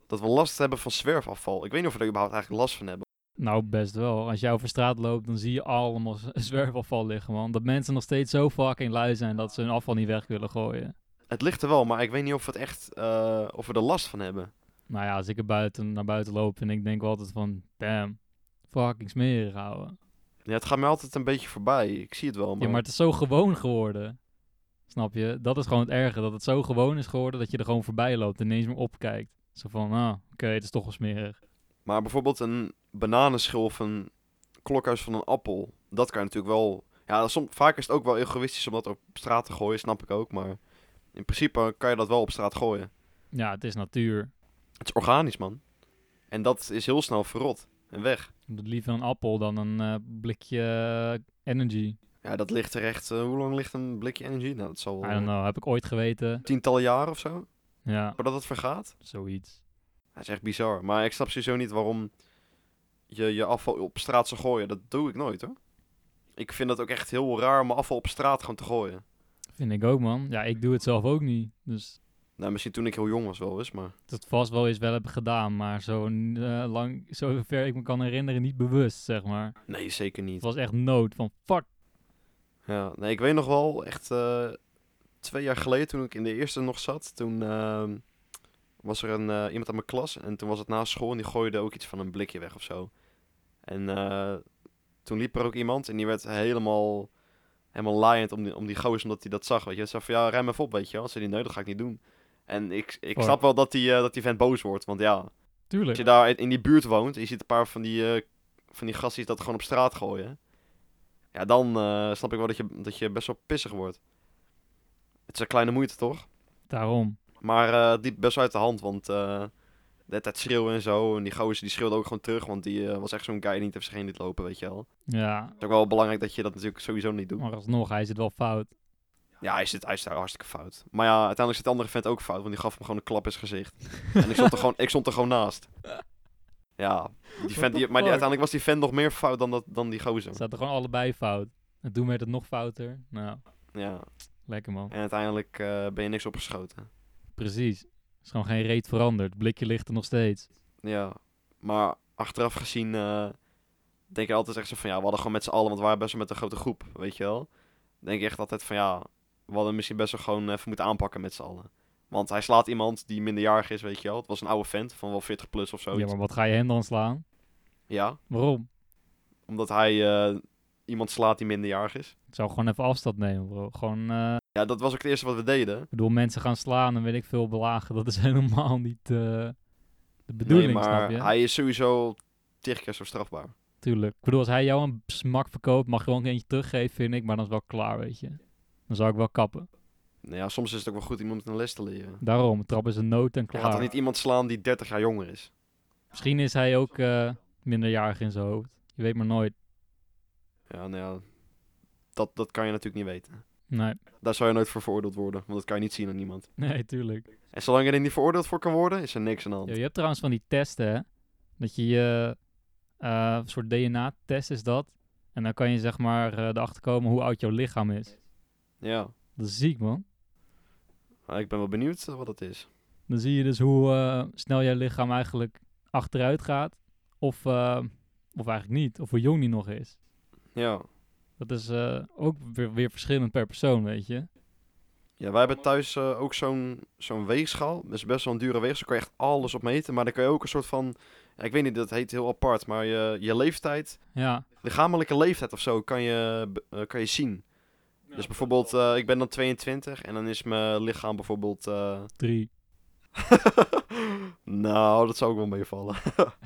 S2: dat we last hebben van zwerfafval. Ik weet niet of we er überhaupt eigenlijk last van hebben.
S1: Nou, best wel. Als jij over straat loopt, dan zie je allemaal z- zwerfafval liggen, man. Dat mensen nog steeds zo fucking lui zijn dat ze hun afval niet weg willen gooien.
S2: Het ligt er wel, maar ik weet niet of we, het echt, eh, of we er last van hebben.
S1: Nou ja, als ik er buiten, naar buiten loop en ik denk wel altijd van, damn, fucking smerig houden.
S2: Ja, het gaat mij altijd een beetje voorbij. Ik zie het wel, maar...
S1: Ja, maar het is zo gewoon geworden. Snap je? Dat is gewoon het erge, dat het zo gewoon is geworden dat je er gewoon voorbij loopt en ineens meer opkijkt. Zo van, ah, oké, het is toch wel smerig.
S2: maar bijvoorbeeld een bananenschil of een klokhuis van een appel. Dat kan je natuurlijk wel... Ja, som, vaak is het ook wel egoïstisch om dat op straat te gooien, snap ik ook. Maar in principe kan je dat wel op straat gooien.
S1: Ja, het is natuur.
S2: Het is organisch, man. En dat is heel snel verrot en weg.
S1: Ik doe liever een appel dan een eh, blikje eh, energy.
S2: Ja, dat ligt er echt... eh, hoe lang ligt een blikje energie? Nou, dat zal
S1: I don't
S2: wel
S1: know, heb ik ooit geweten.
S2: tientallen jaren of zo.
S1: Ja,
S2: Voordat het vergaat?
S1: zoiets.
S2: Dat is echt bizar. Maar ik snap sowieso niet waarom je je afval op straat zou gooien. Dat doe ik nooit hoor. Ik vind dat ook echt heel raar om mijn afval op straat gewoon te gooien.
S1: Vind ik ook, man. Ja, ik doe het zelf ook niet. Dus
S2: Nou, misschien toen ik heel jong was wel eens, maar...
S1: dat vast wel eens wel heb ik gedaan, maar zo eh, lang, zover ik me kan herinneren, niet bewust, zeg maar.
S2: Nee, zeker
S1: Het
S2: niet.
S1: was echt nood van, fuck.
S2: Ja, nee, ik weet nog wel, echt eh, twee jaar geleden toen ik in de eerste nog zat, toen ehm, was er een, eh, iemand aan mijn klas en toen was het na school en die gooide ook iets van een blikje weg of zo. En eh, toen liep er ook iemand en die werd helemaal, helemaal laaiend om die, om die gozer omdat hij dat zag, weet je. Hij zei van, ja, rem even op, weet je wel. Zei die, nee, dat ga ik niet doen. En ik, ik
S1: Oh.
S2: snap wel dat die, eh, dat die vent boos wordt, want ja,
S1: Tuurlijk.
S2: als je daar in die buurt woont en je ziet een paar van die, eh, van die gasten die dat gewoon op straat gooien. Ja, dan eh, snap ik wel dat je, dat je best wel pissig wordt. Het is een kleine moeite, toch?
S1: Daarom.
S2: Maar eh, het liep best wel uit de hand, want eh de hele tijd schreeuwen en zo. En die gozer die schreeuwde ook gewoon terug, want die eh, was echt zo'n guy die niet over zich heen liet lopen, weet je wel. Het
S1: Ja,
S2: is ook wel belangrijk dat je dat natuurlijk sowieso niet doet.
S1: maar alsnog, hij zit wel fout.
S2: Ja, hij zit, hij zit hartstikke fout. Maar ja, uiteindelijk zit de andere vent ook fout, want die gaf hem gewoon een klap in zijn gezicht. En ik stond er gewoon, ik stond er gewoon naast. Ja, die
S1: What
S2: vent,
S1: the
S2: die, maar die,
S1: fuck?
S2: uiteindelijk was die vent nog meer fout dan, dat, dan die gozer.
S1: Staat er gewoon allebei fout. En toen werd het nog fouter. Nou,
S2: Ja,
S1: lekker man.
S2: en uiteindelijk eh, ben je niks opgeschoten.
S1: Precies. Er is gewoon geen reet veranderd. Blikje ligt er nog steeds.
S2: Ja, maar achteraf gezien eh, denk ik altijd echt zo van ja, we hadden gewoon met z'n allen, want we waren best wel met een grote groep, weet je wel. Denk ik echt altijd van ja, we hadden misschien best wel gewoon even moeten aanpakken met z'n allen. Want hij slaat iemand die minderjarig is, weet je wel. Het was een oude vent van wel 40 plus of zo.
S1: Ja, maar wat ga je hem dan slaan?
S2: ja,
S1: Waarom?
S2: Omdat hij eh, iemand slaat die minderjarig is.
S1: Ik zou gewoon even afstand nemen, bro. Gewoon, eh,
S2: Ja, dat was ook het eerste wat we deden.
S1: ik bedoel, mensen gaan slaan en weet ik veel belagen. Dat is helemaal niet eh, de bedoeling,
S2: nee,
S1: snap
S2: maar
S1: je?
S2: hij is sowieso tig keer zo strafbaar.
S1: Tuurlijk. Ik bedoel, als hij jou een smak verkoopt, mag je gewoon eentje teruggeven, vind ik. Maar dan is het wel klaar, weet je. Dan zou ik wel kappen.
S2: Nou ja, soms is het ook wel goed iemand een les te leren.
S1: Daarom, trap is een nood en
S2: Je gaat
S1: klaar.
S2: toch niet iemand slaan die 30 jaar jonger is?
S1: Misschien is hij ook eh, minderjarig in zijn hoofd. Je weet maar nooit.
S2: Ja, nou ja, dat, dat kan je natuurlijk niet weten.
S1: Nee,
S2: Daar zou je nooit voor veroordeeld worden, want dat kan je niet zien aan iemand.
S1: nee tuurlijk.
S2: En zolang je er niet veroordeeld voor kan worden, is er niks aan de hand.
S1: Ja, je hebt trouwens van die testen, hè. Dat je je... eh, een soort DNA-test is dat. En dan kan je zeg maar eh, erachter komen hoe oud jouw lichaam is.
S2: Ja,
S1: Dat is ziek, man.
S2: maar ik ben wel benieuwd eh, wat dat is.
S1: Dan zie je dus hoe eh, snel jouw lichaam eigenlijk achteruit gaat. Of, eh, of eigenlijk niet. Of hoe jong die nog is.
S2: Ja.
S1: Dat is eh, ook weer, weer verschillend per persoon, weet je.
S2: Ja, wij hebben thuis eh, ook zo'n zo'n weegschaal. Dat is best wel een dure weegschaal. Daar kan je echt alles op meten. Maar dan kan je ook een soort van... ja, ik weet niet, dat heet heel apart. Maar je, je leeftijd,
S1: Ja,
S2: lichamelijke leeftijd of zo, kan je, be- eh, kan je zien. Dus bijvoorbeeld, eh, ik ben dan 22 en dan is mijn lichaam bijvoorbeeld... eh,
S1: drie.
S2: nou, dat zou ook wel meevallen.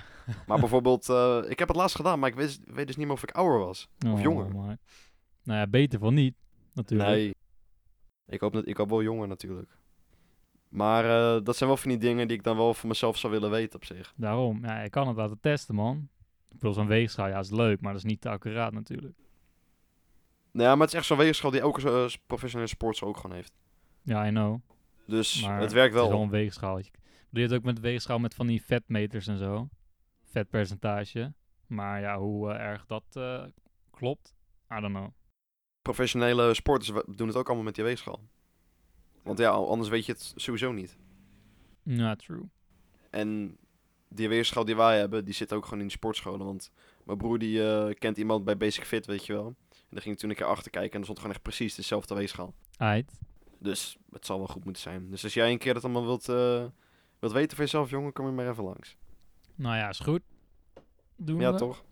S2: maar bijvoorbeeld, eh, ik heb het laatst gedaan, maar ik wist- weet, dus niet meer of ik ouder was.
S1: Oh,
S2: jonger.
S1: maar- Nou ja, beter van niet, natuurlijk.
S2: Nee. Ik hoop, dat, ik hoop wel jonger natuurlijk. Maar eh, dat zijn wel van die dingen die ik dan wel voor mezelf zou willen weten op zich.
S1: Daarom, ja, ik kan het laten testen, man. Ik bedoel, zo'n weegschaal, ja, is leuk, maar dat is niet te accuraat natuurlijk.
S2: Nou ja, maar het is echt zo'n weegschaal die elke eh, professionele sportschool ook gewoon heeft.
S1: Ja, I know.
S2: Dus
S1: Maar
S2: het werkt
S1: Het
S2: wel.
S1: is wel een weegschaal. Je doet het ook met weegschaal met van die vetmeters en zo. Vetpercentage. Maar ja, hoe eh, erg dat eh, klopt, I don't know.
S2: Professionele sporters we- doen het ook allemaal met die weegschaal. Want ja, anders weet je het sowieso niet.
S1: Ja, true.
S2: En die weegschaal die wij hebben, die zit ook gewoon in de sportscholen. Want mijn broer die eh, kent iemand bij Basic Fit, weet je wel. En daar ging ik toen een keer achter kijken en er stond gewoon echt precies dezelfde weegschaal.
S1: Aight.
S2: Dus het zal wel goed moeten zijn. Dus als jij een keer dat allemaal wilt, eh, wilt weten van jezelf, jongen, kom je maar even langs.
S1: Nou ja, is goed. Doen
S2: Ja,
S1: we.
S2: toch?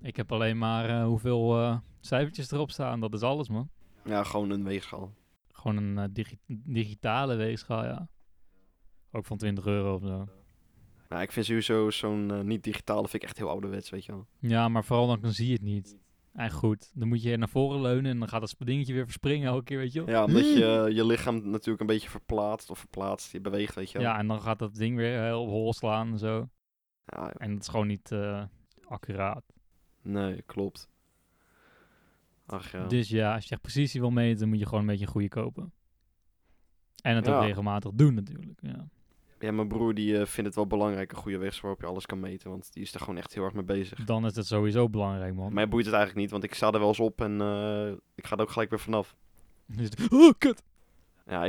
S1: Ik heb alleen maar eh, hoeveel eh, cijfertjes erop staan. Dat is alles, man.
S2: Ja, gewoon een weegschaal.
S1: Gewoon een eh, digi- digitale weegschaal, ja. Ook van 20 euro of zo.
S2: Nou, ik vind sowieso zo'n eh, niet-digitale vind ik echt heel ouderwets, weet je wel.
S1: Ja, maar vooral dan, dan zie je het niet. En goed, dan moet je naar voren leunen en dan gaat dat dingetje weer verspringen elke keer, weet je wel.
S2: Ja, omdat je
S1: Hmm.
S2: je lichaam natuurlijk een beetje verplaatst of verplaatst. Je beweegt, weet je
S1: Ja.
S2: wel.
S1: en dan gaat dat ding weer heel op hol slaan en zo.
S2: Ja, joh.
S1: En dat is gewoon niet eh, accuraat.
S2: nee, klopt. Ach ja.
S1: Dus ja, als je echt precisie wil meten, dan moet je gewoon een beetje een goede kopen. En het ook
S2: Ja. eh, eh,
S1: Dus Oh,
S2: eh,
S1: eh,
S2: eh,
S1: Dus eh, eh, eh, Nou, eh, Dus eh, nou
S2: Nou
S1: Ah.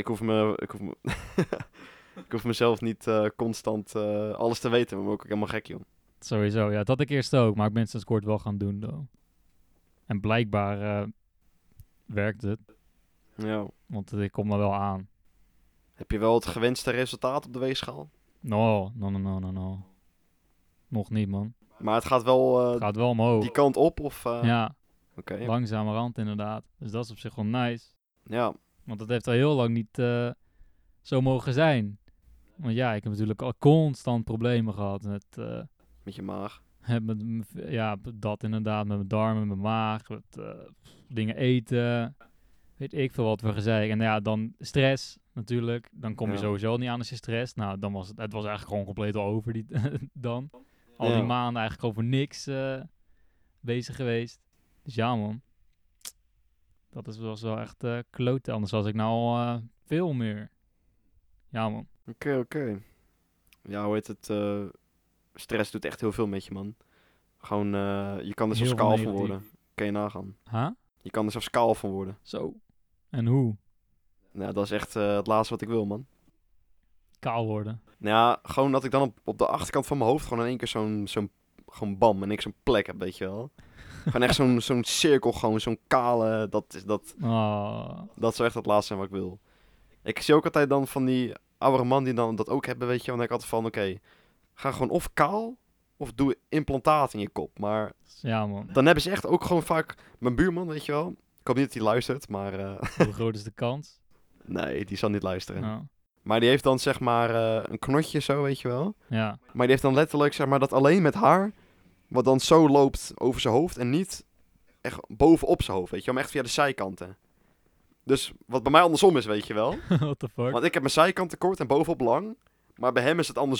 S2: eh,
S1: Nou,
S2: eh, Dus Dus
S1: Oh,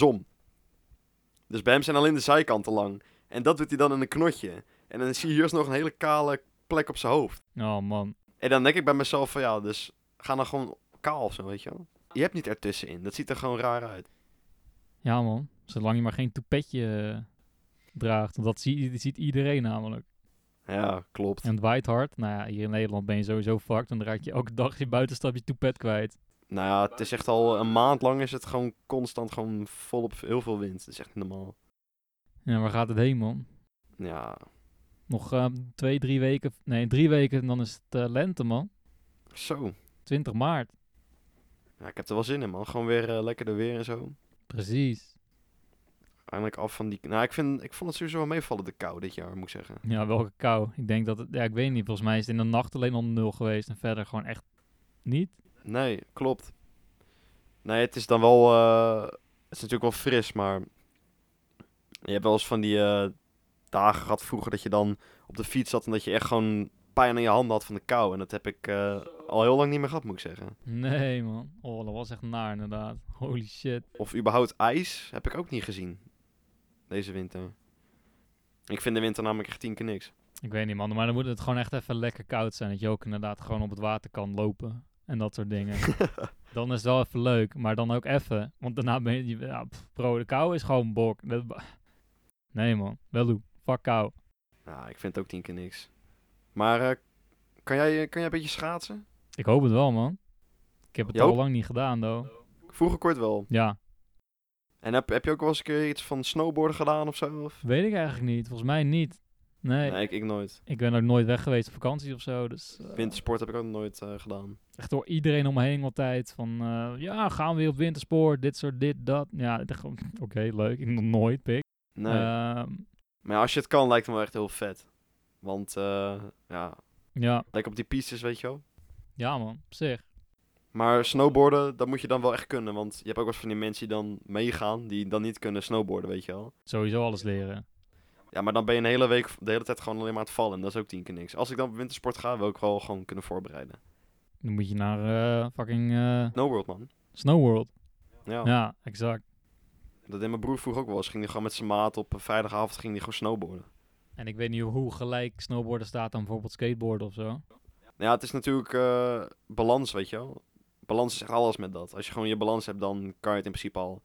S2: dus nou
S1: eh, nou
S2: Nou
S1: eh,
S2: eh, Nou, eh, eh, pijn aan je handen had van de kou. En dat heb ik eh, al heel lang niet meer gehad, moet ik zeggen.
S1: Nee, man. Oh, dat was echt naar, inderdaad. Holy shit.
S2: Of überhaupt ijs heb ik ook niet gezien. Deze winter. Ik vind de winter namelijk echt tien keer niks.
S1: Ik weet niet, man. Maar dan moet het gewoon echt even lekker koud zijn. Dat je ook inderdaad gewoon op het water kan lopen. En dat soort dingen. dan is het wel even leuk. Maar dan ook even. Want daarna ben je... Ja, pff, bro, de kou is gewoon bok. Dat- Nee, man. Wel doen. Fuck kou.
S2: Nou, ik vind het ook tien keer niks. Maar eh, kan, jij, kan jij een beetje schaatsen?
S1: Ik hoop het wel, man. Ik heb het
S2: Je
S1: al
S2: hoopt?
S1: lang niet gedaan, though.
S2: Vroeger kort wel.
S1: Ja,
S2: En heb, heb je ook wel eens een keer iets van snowboarden gedaan of zo? Of?
S1: weet ik eigenlijk niet. Volgens mij niet. Nee,
S2: Nee, ik, ik nooit.
S1: ik ben ook nooit weg geweest op vakantie of zo. Dus eh,
S2: Wintersport heb ik ook nooit eh, gedaan.
S1: echt door iedereen om me heen altijd. Van eh, ja, gaan we weer op wintersport, dit soort, dit, dat. Ja, ik dacht gewoon, oké, leuk. Ik nog nooit, pik.
S2: Nee.
S1: Ehm,
S2: Maar ja, als je het kan, lijkt het me wel echt heel vet. Want, eh, ja,
S1: ja.
S2: lekker op die pistes, weet je wel.
S1: ja, man, op zich.
S2: Maar snowboarden, dat moet je dan wel echt kunnen. Want je hebt ook wel eens van die mensen die dan meegaan, die dan niet kunnen snowboarden, weet je wel.
S1: Sowieso alles leren.
S2: Ja, maar dan ben je een hele week, de hele tijd gewoon alleen maar aan het vallen. En dat is ook tien keer niks. Als ik dan op wintersport ga, wil ik wel gewoon kunnen voorbereiden.
S1: Dan moet je naar eh, fucking eh
S2: Snowboard, man.
S1: Snow World.
S2: Ja.
S1: Ja, exact.
S2: Dat deed mijn broer vroeger ook wel eens. Ging hij gewoon met zijn maat op een vrijdagavond ging hij gewoon snowboarden.
S1: En ik weet niet hoe gelijk snowboarden staat aan bijvoorbeeld skateboarden of zo.
S2: Nou Ja, het is natuurlijk eh, balans, weet je wel. Balans is echt alles met dat. Als je gewoon je balans hebt, dan kan je het in principe al.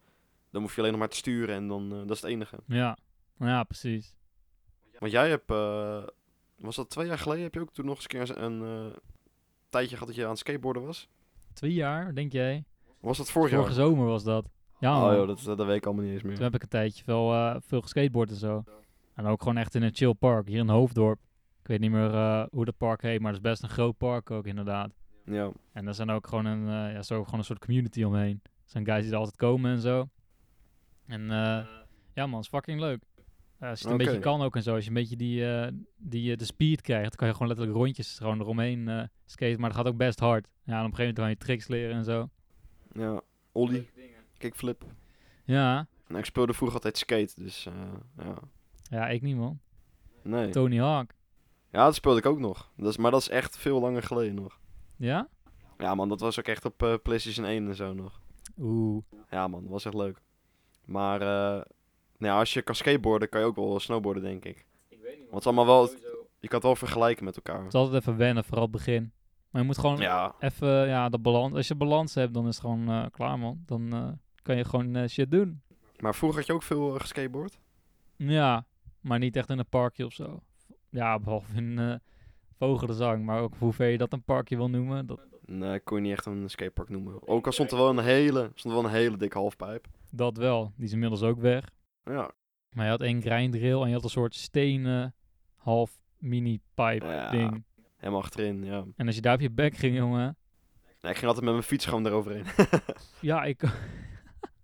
S2: Dan hoef je alleen nog maar te sturen en dan, eh, dat is het enige.
S1: Ja, ja precies.
S2: Want jij hebt, eh, was dat twee jaar geleden, heb je ook toen nog eens een keer een eh, tijdje gehad dat je aan het skateboarden was?
S1: Twee jaar, denk jij?
S2: Was dat vorig
S1: Vorige
S2: jaar?
S1: zomer was dat. Ja,
S2: Oh
S1: man.
S2: joh, dat, dat weet ik allemaal niet eens meer.
S1: Toen heb ik een tijdje veel, eh, veel skateboard en zo. En ook gewoon echt in een chill park, hier in Hoofddorp. Ik weet niet meer eh, hoe dat park heet, maar het is best een groot park ook inderdaad.
S2: Ja.
S1: En daar zijn ook gewoon een, eh, ja, zo gewoon een soort community omheen. Er zijn guys die er altijd komen en zo. En eh, ja man, is fucking leuk. Eh, als je het een
S2: Oké.
S1: beetje kan ook en zo, als je een beetje die, eh, die eh, de speed krijgt, dan kan je gewoon letterlijk rondjes gewoon eromheen eh skaten. Maar dat gaat ook best hard. Ja, en op een gegeven moment kan je tricks leren en zo.
S2: Ja, ollie, kickflip.
S1: Ja,
S2: Nou, ik speelde vroeger altijd skate, dus eh, ja.
S1: ja ik niet man.
S2: Nee.
S1: Tony Hawk.
S2: Ja, dat speelde ik ook nog. Dat is, maar dat is echt veel langer geleden nog.
S1: Ja?
S2: Ja man, dat was ook echt op eh, PlayStation 1 en zo nog.
S1: Oeh.
S2: Ja man, dat was echt leuk. Maar eh, nou ja, als je kan skateboarden, kan je ook wel snowboarden, denk ik. Want het is allemaal wel, je kan het wel vergelijken met elkaar.
S1: Het is altijd even wennen, vooral het begin. Maar je moet gewoon
S2: Ja,
S1: even, ja, de balans. Als je balans hebt, dan is het gewoon eh, klaar, man. Dan eh, kan je gewoon eh, shit doen.
S2: maar vroeger had je ook veel eh, geskateboard.
S1: Ja, maar niet echt in een parkje of zo. Ja, behalve in eh Vogelenzang. Maar ook hoe ver je dat een parkje wil noemen. Dat,
S2: Nee, kon je niet echt een skatepark noemen. Ook al stond er wel een hele, stond er wel een hele dikke halfpijp.
S1: dat wel. Die is inmiddels ook weg.
S2: Ja,
S1: Maar je had één grindrail en je had een soort stenen half mini pipe
S2: Ja.
S1: ding.
S2: helemaal achterin, ja.
S1: En als je daar op je bek ging, jongen.
S2: Nee, ik ging altijd met mijn fiets gewoon eroverheen.
S1: Ja, ik.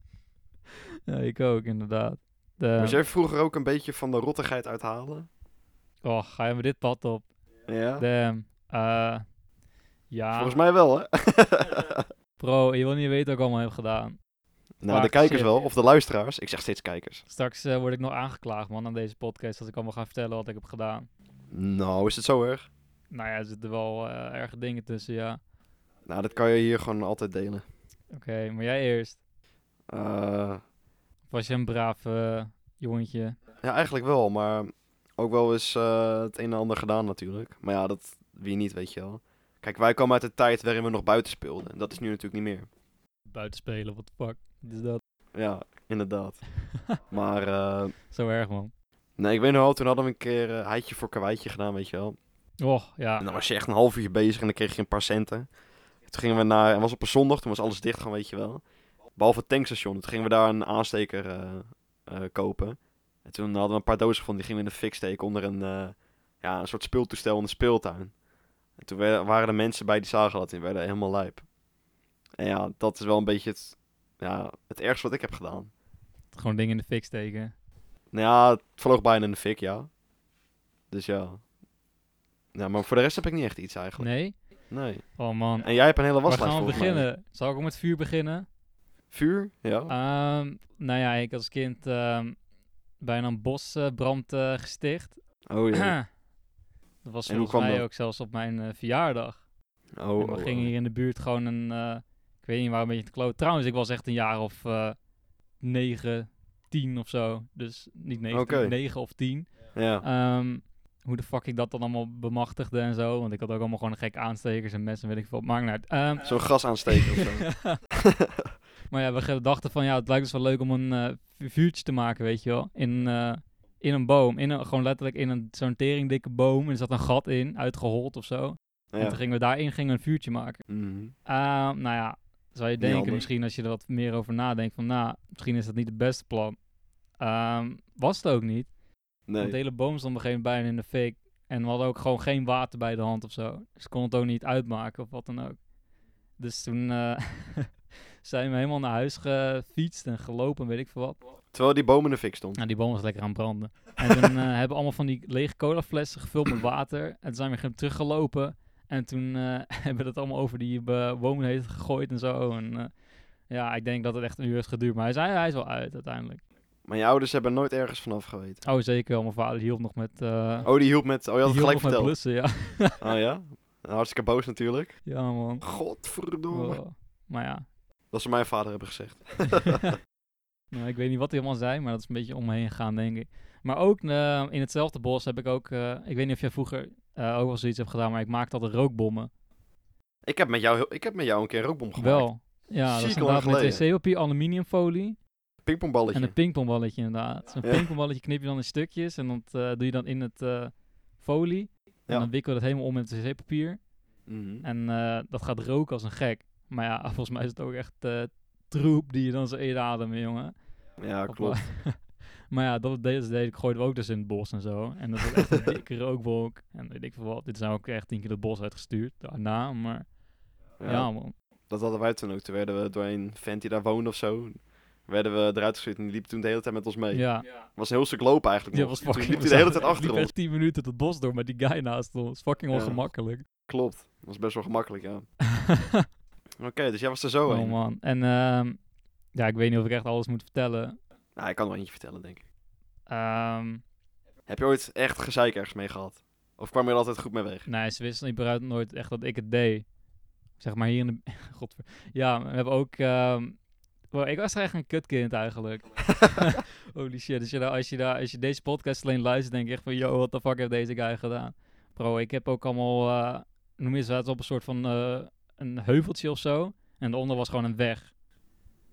S1: ja, ik ook, inderdaad. De...
S2: Was jij vroeger ook een beetje van de rottigheid uithalen?
S1: Oh, ga je met dit pad op?
S2: Ja.
S1: Damn. Eh, ja,
S2: Volgens mij wel, hè?
S1: bro, je wil niet weten wat ik allemaal heb gedaan.
S2: Nou, de
S1: Vaak
S2: kijkers
S1: shit.
S2: wel, of de luisteraars. Ik zeg steeds kijkers.
S1: Straks eh, word ik nog aangeklaagd, man, aan deze podcast. Dat ik allemaal ga vertellen wat ik heb gedaan.
S2: Nou, is het zo erg?
S1: Nou ja, er zitten wel eh, erge dingen tussen, ja.
S2: Nou, dat kan je hier gewoon altijd delen.
S1: Oké, maar jij eerst.
S2: Eh,
S1: Of was je een braaf eh, jongetje?
S2: ja, eigenlijk wel, maar ook wel eens eh, het een en ander gedaan natuurlijk. Maar ja, dat wie niet, weet je wel. Kijk, wij komen uit de tijd waarin we nog buiten speelden. Dat is nu natuurlijk niet meer.
S1: Buitenspelen, wat de fuck? Wat is dat?
S2: Ja, inderdaad. maar eh,
S1: Zo erg, man.
S2: nee, ik weet nog wel, toen hadden we een keer eh, heitje voor karweitje gedaan, weet je wel.
S1: Och,
S2: En
S1: ja.
S2: dan was je echt een half uurtje bezig en dan kreeg je een paar centen. Toen gingen we naar, en was op een zondag, toen was alles dicht gewoon, weet je wel. Behalve het tankstation. Toen gingen we daar een aansteker eh, eh, kopen. En toen hadden we een paar dozen gevonden, die gingen we in de fik steken onder een, eh, ja, een soort speeltoestel in de speeltuin. En toen werden- waren er mensen bij die zagen dat en werden helemaal lijp. En ja, dat is wel een beetje het, ja, het ergste wat ik heb gedaan.
S1: Gewoon dingen in de fik steken.
S2: Nou ja, het vloog bijna in de fik, ja. Dus ja. Ja, maar voor de rest heb ik niet echt iets eigenlijk.
S1: Nee?
S2: Nee.
S1: Oh, man.
S2: En jij hebt een hele
S1: Waar
S2: waslijst
S1: gaan we
S2: volgens mij.
S1: beginnen? Zal ik om het vuur beginnen?
S2: Vuur? Ja.
S1: Ehm, nou ja, ik als kind eh, ehm, bijna een bosbrand eh, gesticht.
S2: Oh ja.
S1: Dat was
S2: En hoe
S1: volgens
S2: kwam
S1: mij
S2: dat?
S1: ook zelfs op mijn eh, verjaardag.
S2: Oh,
S1: en we
S2: oh,
S1: gingen
S2: oh.
S1: hier in de buurt gewoon een, eh, ik weet niet waar, een beetje te kloot. Trouwens, ik was echt een jaar of eh 9, 10 of zo. Dus niet 9,
S2: Oké.
S1: 9 of 10.
S2: oh. Ja.
S1: Ehm, hoe de fuck ik dat dan allemaal bemachtigde en zo. Want ik had ook allemaal gewoon gek aanstekers en messen, weet ik veel. Maakt niet uit. Ehm,
S2: Zo'n gas aansteken of zo.
S1: maar ja, we dachten van ja, het lijkt ons wel leuk om een eh, vu- vuurtje te maken, weet je wel. In, eh, in een boom. In een, gewoon letterlijk in een, zo'n teringdikke boom. En er zat een gat in, uitgehold of zo. En toen
S2: Ja.
S1: gingen we daarin gingen we een vuurtje maken.
S2: Mhm.
S1: Ehm, nou ja, zou je
S2: Niet
S1: denken
S2: handig.
S1: misschien als je er wat meer over nadenkt van nou, misschien is dat niet het beste plan. Ehm, was het ook niet. Want de
S2: Nee.
S1: hele boom stond op een gegeven moment bijna in de fik. En we hadden ook gewoon geen water bij de hand of zo. Dus kon het ook niet uitmaken of wat dan ook. Dus toen eh, zijn we helemaal naar huis gefietst en gelopen, weet ik veel wat.
S2: Terwijl die boom in de fik stond.
S1: Nou, die boom was lekker aan het branden. En toen eh, hebben we allemaal van die lege colaflessen gevuld met water. En toen zijn we gaan teruggelopen. En toen eh, hebben we dat allemaal over die eh, boom heen gegooid en zo. En eh, ja, ik denk dat het echt een uur heeft geduurd. Maar hij is, hij is wel uit uiteindelijk.
S2: Maar je ouders hebben nooit ergens vanaf geweten.
S1: Oh, zeker wel. Mijn vader die hielp nog met... eh,
S2: Oh, die hielp met... Oh, je had
S1: die
S2: het
S1: hielp nog met
S2: gelijk verteld.
S1: blussen, ja.
S2: Oh ja? Hartstikke boos natuurlijk.
S1: Ja, man.
S2: Godverdomme.
S1: Wow. Maar ja.
S2: Dat ze mijn vader hebben gezegd.
S1: nou, ik weet niet wat hij allemaal zei, maar dat is een beetje omheen gegaan, denk ik. Maar ook eh, in hetzelfde bos heb ik ook... eh, ik weet niet of jij vroeger eh, ook wel zoiets hebt gedaan, maar ik maakte altijd rookbommen.
S2: Ik heb met jou, heel- ik heb met jou een keer een rookbom gemaakt.
S1: Wel. Ja, dat
S2: Ziek
S1: is
S2: lang
S1: inderdaad met
S2: geleden.
S1: wc-papier, aluminiumfolie en
S2: Pingpongballetje.
S1: een pingpongballetje inderdaad. Zo'n
S2: Ja.
S1: pingpongballetje knip je dan in stukjes en dat eh, doe je dan in het eh, folie. En
S2: Ja.
S1: dan wikkel je dat helemaal om met wc-papier.
S2: Mhm.
S1: En eh, dat gaat roken als een gek. Maar ja, volgens mij is het ook echt eh, troep die je dan zo inademt, jongen.
S2: Ja,
S1: Of
S2: klopt.
S1: wel- maar ja, dat deed, deed ik, gooiden we ook dus in het bos en zo. En dat was echt een dikke rookwolk. En weet ik veel wat. Dit zijn ook echt tien keer het bos uitgestuurd daarna. Maar ja,
S2: Ja.
S1: man.
S2: Dat hadden wij toen ook. Toen werden we door een vent die daar woonde of zo... werden we eruit gestuurd en die liep toen de hele tijd met ons mee.
S1: Ja,
S2: was een heel stuk lopen eigenlijk
S1: die
S2: nog.
S1: was
S2: Toen
S1: fucking...
S2: liep hij
S1: we
S2: de hele
S1: zaten
S2: tijd
S1: echt-
S2: achter
S1: liep
S2: ons.
S1: echt tien minuten het bos door, maar die guy naast ons. Fucking
S2: Ja.
S1: ongemakkelijk.
S2: Klopt. Dat was best wel gemakkelijk, ja. Oké, Oh, dus jij was er zo
S1: oh
S2: een.
S1: man. En ehm, ja, ik weet niet of ik echt alles moet vertellen.
S2: Nou, ik kan er wel eentje vertellen, denk ik.
S1: Ehm
S2: Heb je ooit echt gezeik ergens mee gehad? Of kwam je er altijd goed mee weg?
S1: Nee, ze wisten niet beruit nooit echt dat ik het deed. Zeg maar hier in de... Godver... Ja, we hebben ook... ehm, wow, ik was echt een kutkind eigenlijk. Holy shit. Dus je, daar- als, je daar, als je deze podcast alleen luistert, denk je echt van... Yo, what the fuck heeft deze guy gedaan? Bro, ik heb ook allemaal... eh, noem je het, we zaten op een soort van... eh, een heuveltje of zo. En daaronder was gewoon een weg.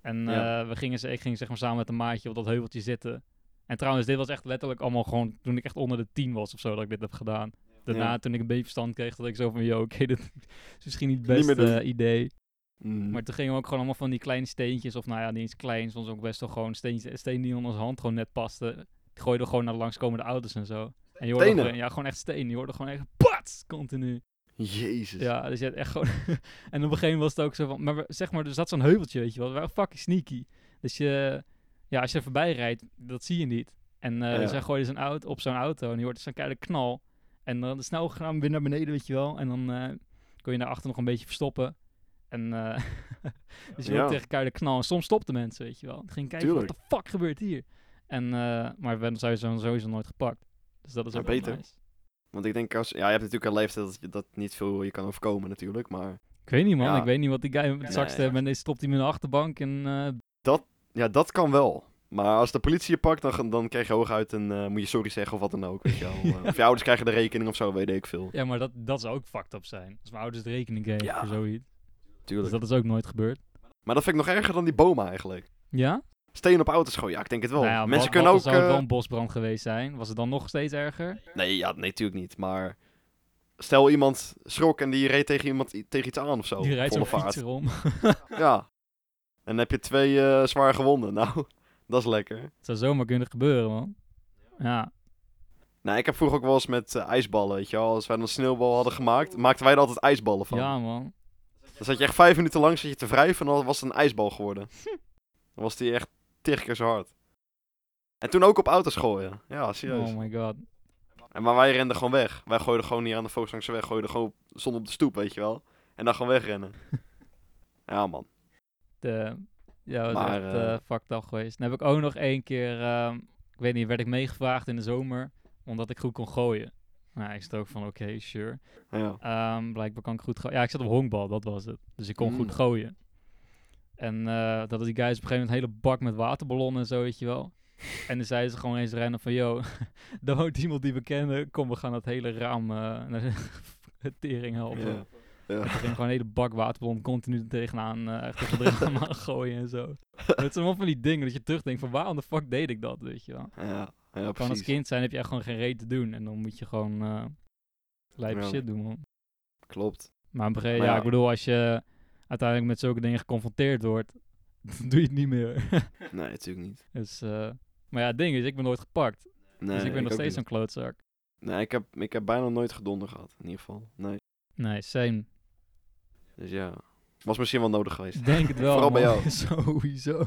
S1: En
S2: Ja.
S1: eh, we gingen, ze- ik ging zeg maar samen met een maatje op dat heuveltje zitten. En trouwens, dit was echt letterlijk allemaal gewoon toen ik echt onder de tien was of zo dat ik dit heb gedaan. Daarna,
S2: Ja.
S1: toen ik een beetje verstand kreeg, dat ik zo van, yo, oké, dit is misschien niet het
S2: Niet meer
S1: beste
S2: doen.
S1: eh, idee.
S2: Mm.
S1: Maar toen gingen we ook gewoon allemaal van die kleine steentjes, of nou ja, niet eens klein, soms ook best wel gewoon steentjes, steen die in onze hand gewoon net paste. Die gooiden we gewoon naar de langskomende auto's en zo. En je hoorde
S2: Stenen?
S1: gewoon, ja, gewoon echt stenen. Je hoorde gewoon echt pats, continu.
S2: Jezus.
S1: Ja, dus je had echt gewoon... en op een gegeven moment was het ook zo van... Maar we- zeg maar, er zat zo'n heuveltje, weet je wel. We waren fucking sneaky. Dus je... Ja, als je er voorbij rijdt, dat zie je niet. En eh
S2: Ja.
S1: dus hij gooide zijn auto op zo'n auto en je hoort zo'n keiharde knal. En dan snel gaan weer naar beneden, weet je wel. En dan eh, kon je daarachter nog een beetje verstoppen. En eh, dus je
S2: Ja.
S1: hoort tegen keiharde knal. En soms stopten mensen, weet je wel. Die gingen kijken, wat
S2: Tuurlijk.
S1: de fuck gebeurt hier? En, eh, maar we werden sowieso, sowieso nooit gepakt. Dus dat is
S2: Ja,
S1: ook wel
S2: beter.
S1: nice.
S2: Want ik denk als... Ja, je hebt natuurlijk een leeftijd dat je dat niet veel je kan overkomen natuurlijk, maar...
S1: Ik weet niet, man.
S2: Ja.
S1: Ik weet niet wat die guy met het
S2: Nee.
S1: zakste En deze stopt hij met de achterbank. En eh,
S2: Ja, dat kan wel. Maar als de politie je pakt, dan, ge- dan krijg je hooguit een... eh, moet je sorry zeggen of wat dan ook, weet je wel. Eh, Of je ouders krijgen de rekening of zo, weet ik veel.
S1: ja, maar dat, dat zou ook fucked up zijn. Als mijn ouders de rekening kregen
S2: Ja.
S1: voor zoiets. Dus
S2: Tuurlijk.
S1: dat is ook nooit gebeurd.
S2: Maar dat vind ik nog erger dan die bomen eigenlijk.
S1: Ja?
S2: Steen op auto's gooien, ja, ik denk het wel.
S1: Nou ja,
S2: Mensen
S1: wat-
S2: kunnen
S1: wat
S2: ook...
S1: zou het
S2: eh,
S1: wel een bosbrand geweest zijn? Was het dan nog steeds erger?
S2: Nee, ja, nee, natuurlijk niet. Maar stel iemand schrok en die reed tegen iemand i- tegen iets aan of zo.
S1: die rijdt
S2: volle
S1: zo'n fietser om.
S2: Ja. En dan heb je twee eh, zwaar gewonden. Nou, dat is lekker.
S1: het zou zomaar kunnen gebeuren, man. Ja.
S2: Nou, ik heb vroeger ook wel eens met eh, ijsballen, weet je wel. Als wij dan een sneeuwbal hadden gemaakt, maakten wij er altijd ijsballen van.
S1: Ja, man.
S2: Dan zat je echt vijf minuten lang zat je te wrijven en dan was het een ijsbal geworden.
S1: Hm.
S2: Dan was die echt tig keer zo hard. En toen ook op auto's gooien. Ja, serieus.
S1: Oh my god.
S2: En maar wij renden gewoon weg. Wij gooiden gewoon niet aan de focus langs de weg. Gooiden gewoon zonder op de stoep, weet je wel. En dan gewoon wegrennen. ja, man.
S1: De, ja, dat is
S2: Maar,
S1: echt
S2: eh,
S1: eh fucked up geweest. Dan heb ik ook nog één keer... ehm, ik weet niet, werd ik meegevraagd in de zomer. Omdat ik goed kon gooien. Nou, ik zat ook van, oké, sure.
S2: Ja.
S1: Ehm, blijkbaar kan ik goed gooien. Ja, ik zat op honkbal, dat was het. Dus ik kon
S2: Mm.
S1: goed gooien. En eh dat die guys op een gegeven moment een hele bak met waterballonnen en zo, weet je wel. En dan zeiden ze gewoon eens rennen van, yo, daar woont iemand die we kennen. Kom, we gaan dat hele raam eh, naar de tering helpen.
S2: Ja.
S1: En
S2: Ja.
S1: toen ging gewoon een hele bak waterballon continu er tegenaan, eh tegen de raam aan gooien en zo. Het zijn allemaal van die dingen dat je terugdenkt van, waarom de fuck deed ik dat, weet je wel.
S2: Ja. ja,
S1: Kan als
S2: precies.
S1: kind zijn heb je echt gewoon geen reet te doen. En dan moet je gewoon eh lijpe
S2: Ja.
S1: shit doen, man.
S2: Klopt.
S1: Maar, op een gegeven-
S2: Maar
S1: ja,
S2: ja.
S1: ik bedoel, als je uiteindelijk met zulke dingen geconfronteerd wordt, dan doe je het niet meer.
S2: Nee, natuurlijk niet.
S1: dus, eh, maar ja, het ding is, ik ben nooit gepakt.
S2: Nee,
S1: dus ik ben nog
S2: ook
S1: steeds zo'n
S2: niet.
S1: klootzak.
S2: Nee, ik heb, ik heb bijna nooit gedonder gehad, in ieder geval. Nee.
S1: Nee, same.
S2: Dus ja, was misschien wel nodig geweest.
S1: Ik Denk het wel.
S2: Vooral bij
S1: man.
S2: jou.
S1: Sowieso.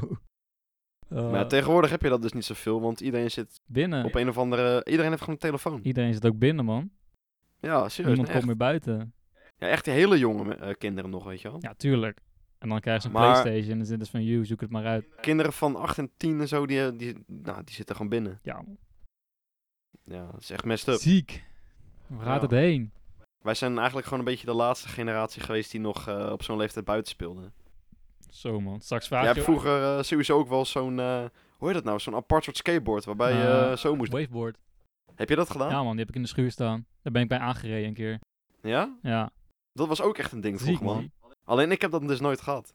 S1: Eh,
S2: Maar ja, tegenwoordig heb je dat dus niet zoveel, want iedereen zit
S1: binnen.
S2: op een of andere... Iedereen heeft gewoon een telefoon.
S1: Iedereen zit ook binnen, man.
S2: Ja, serieus.
S1: Niemand
S2: nee,
S1: komt
S2: echt,
S1: meer buiten.
S2: ja, echt die hele jonge eh, kinderen nog, weet je wel.
S1: Ja, tuurlijk. En dan krijg je zo'n
S2: Maar-
S1: Playstation en dan zit dus van, you, zoek het maar uit.
S2: Kinderen van 8 en 10 en zo, die, eh, die, nou, die zitten gewoon binnen.
S1: Ja, man.
S2: Ja, dat is echt messed up.
S1: ziek. Waar gaat
S2: Ja.
S1: het heen?
S2: Wij zijn eigenlijk gewoon een beetje de laatste generatie geweest die nog eh, op zo'n leeftijd buiten speelde.
S1: Zo man, straks
S2: Jij
S1: vraag
S2: hebt vroeger eh, sowieso ook wel zo'n, eh, hoe heet dat nou, zo'n apart soort skateboard waarbij je
S1: Eh,
S2: eh, zo moest.
S1: Waveboard.
S2: Heb je dat gedaan?
S1: Ja man, die heb ik in de schuur staan. Daar ben ik bij aangereden een keer.
S2: Ja?
S1: Ja,
S2: Dat was ook echt een ding
S1: ziek
S2: vroeger,
S1: man.
S2: man. Alleen ik heb dat dus nooit gehad.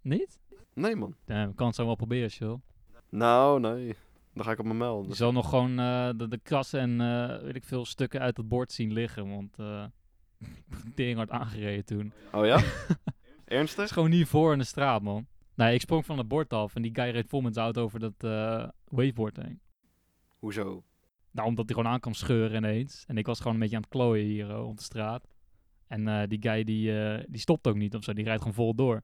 S1: Niet?
S2: Nee, man.
S1: Damn, ik kan het zo wel proberen, chill.
S2: Nou, nee. Dan ga ik op mijn mel.
S1: Je
S2: Dus-
S1: zal nog gewoon eh, de, de krassen en eh, weet ik veel stukken uit het bord zien liggen, want eh tering hard aangereden toen.
S2: Oh ja?
S1: Het
S2: Ernstig?
S1: is gewoon niet voor in de straat, man. Nee, ik sprong van het bord af en die guy reed vol met zijn auto over dat eh, waveboard heen.
S2: Hoezo?
S1: Nou, omdat hij gewoon aan kwam scheuren ineens. En ik was gewoon een beetje aan het klooien hier eh, op de straat. En eh, die guy die, eh, die stopt ook niet of zo, die rijdt gewoon vol door.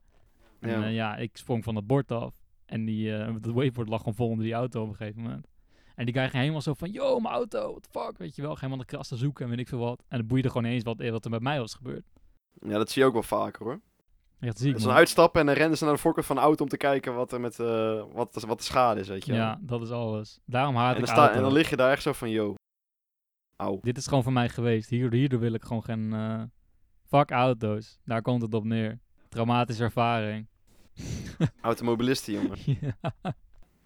S1: En
S2: Ja.
S1: ja, ja ik sprong van het bord af. En die, eh, dat waveboard lag gewoon vol onder die auto op een gegeven moment. En die guy ging helemaal zo van, yo, mijn auto, what the fuck, weet je wel. Ging helemaal de kras te zoeken en weet ik veel wat. En het boeide gewoon niet eens wat, eh, wat er met mij was gebeurd.
S2: Ja, dat zie je ook wel vaker hoor.
S1: Echt ziek,
S2: Dat ze
S1: man.
S2: dan uitstappen en dan rennen ze naar de voorkant van de auto om te kijken wat, er met, eh, wat, de- wat de schade is, weet je
S1: ja.
S2: wel.
S1: dat is alles. Daarom haat
S2: en,
S1: ik
S2: dan sta,
S1: auto.
S2: en dan lig je daar echt zo van, yo. Auw.
S1: Dit is gewoon voor mij geweest. Hier, hierdoor wil ik gewoon geen... eh, fuck auto's. Daar komt het op neer. Traumatische ervaring.
S2: Automobilisten, jongen.
S1: ja.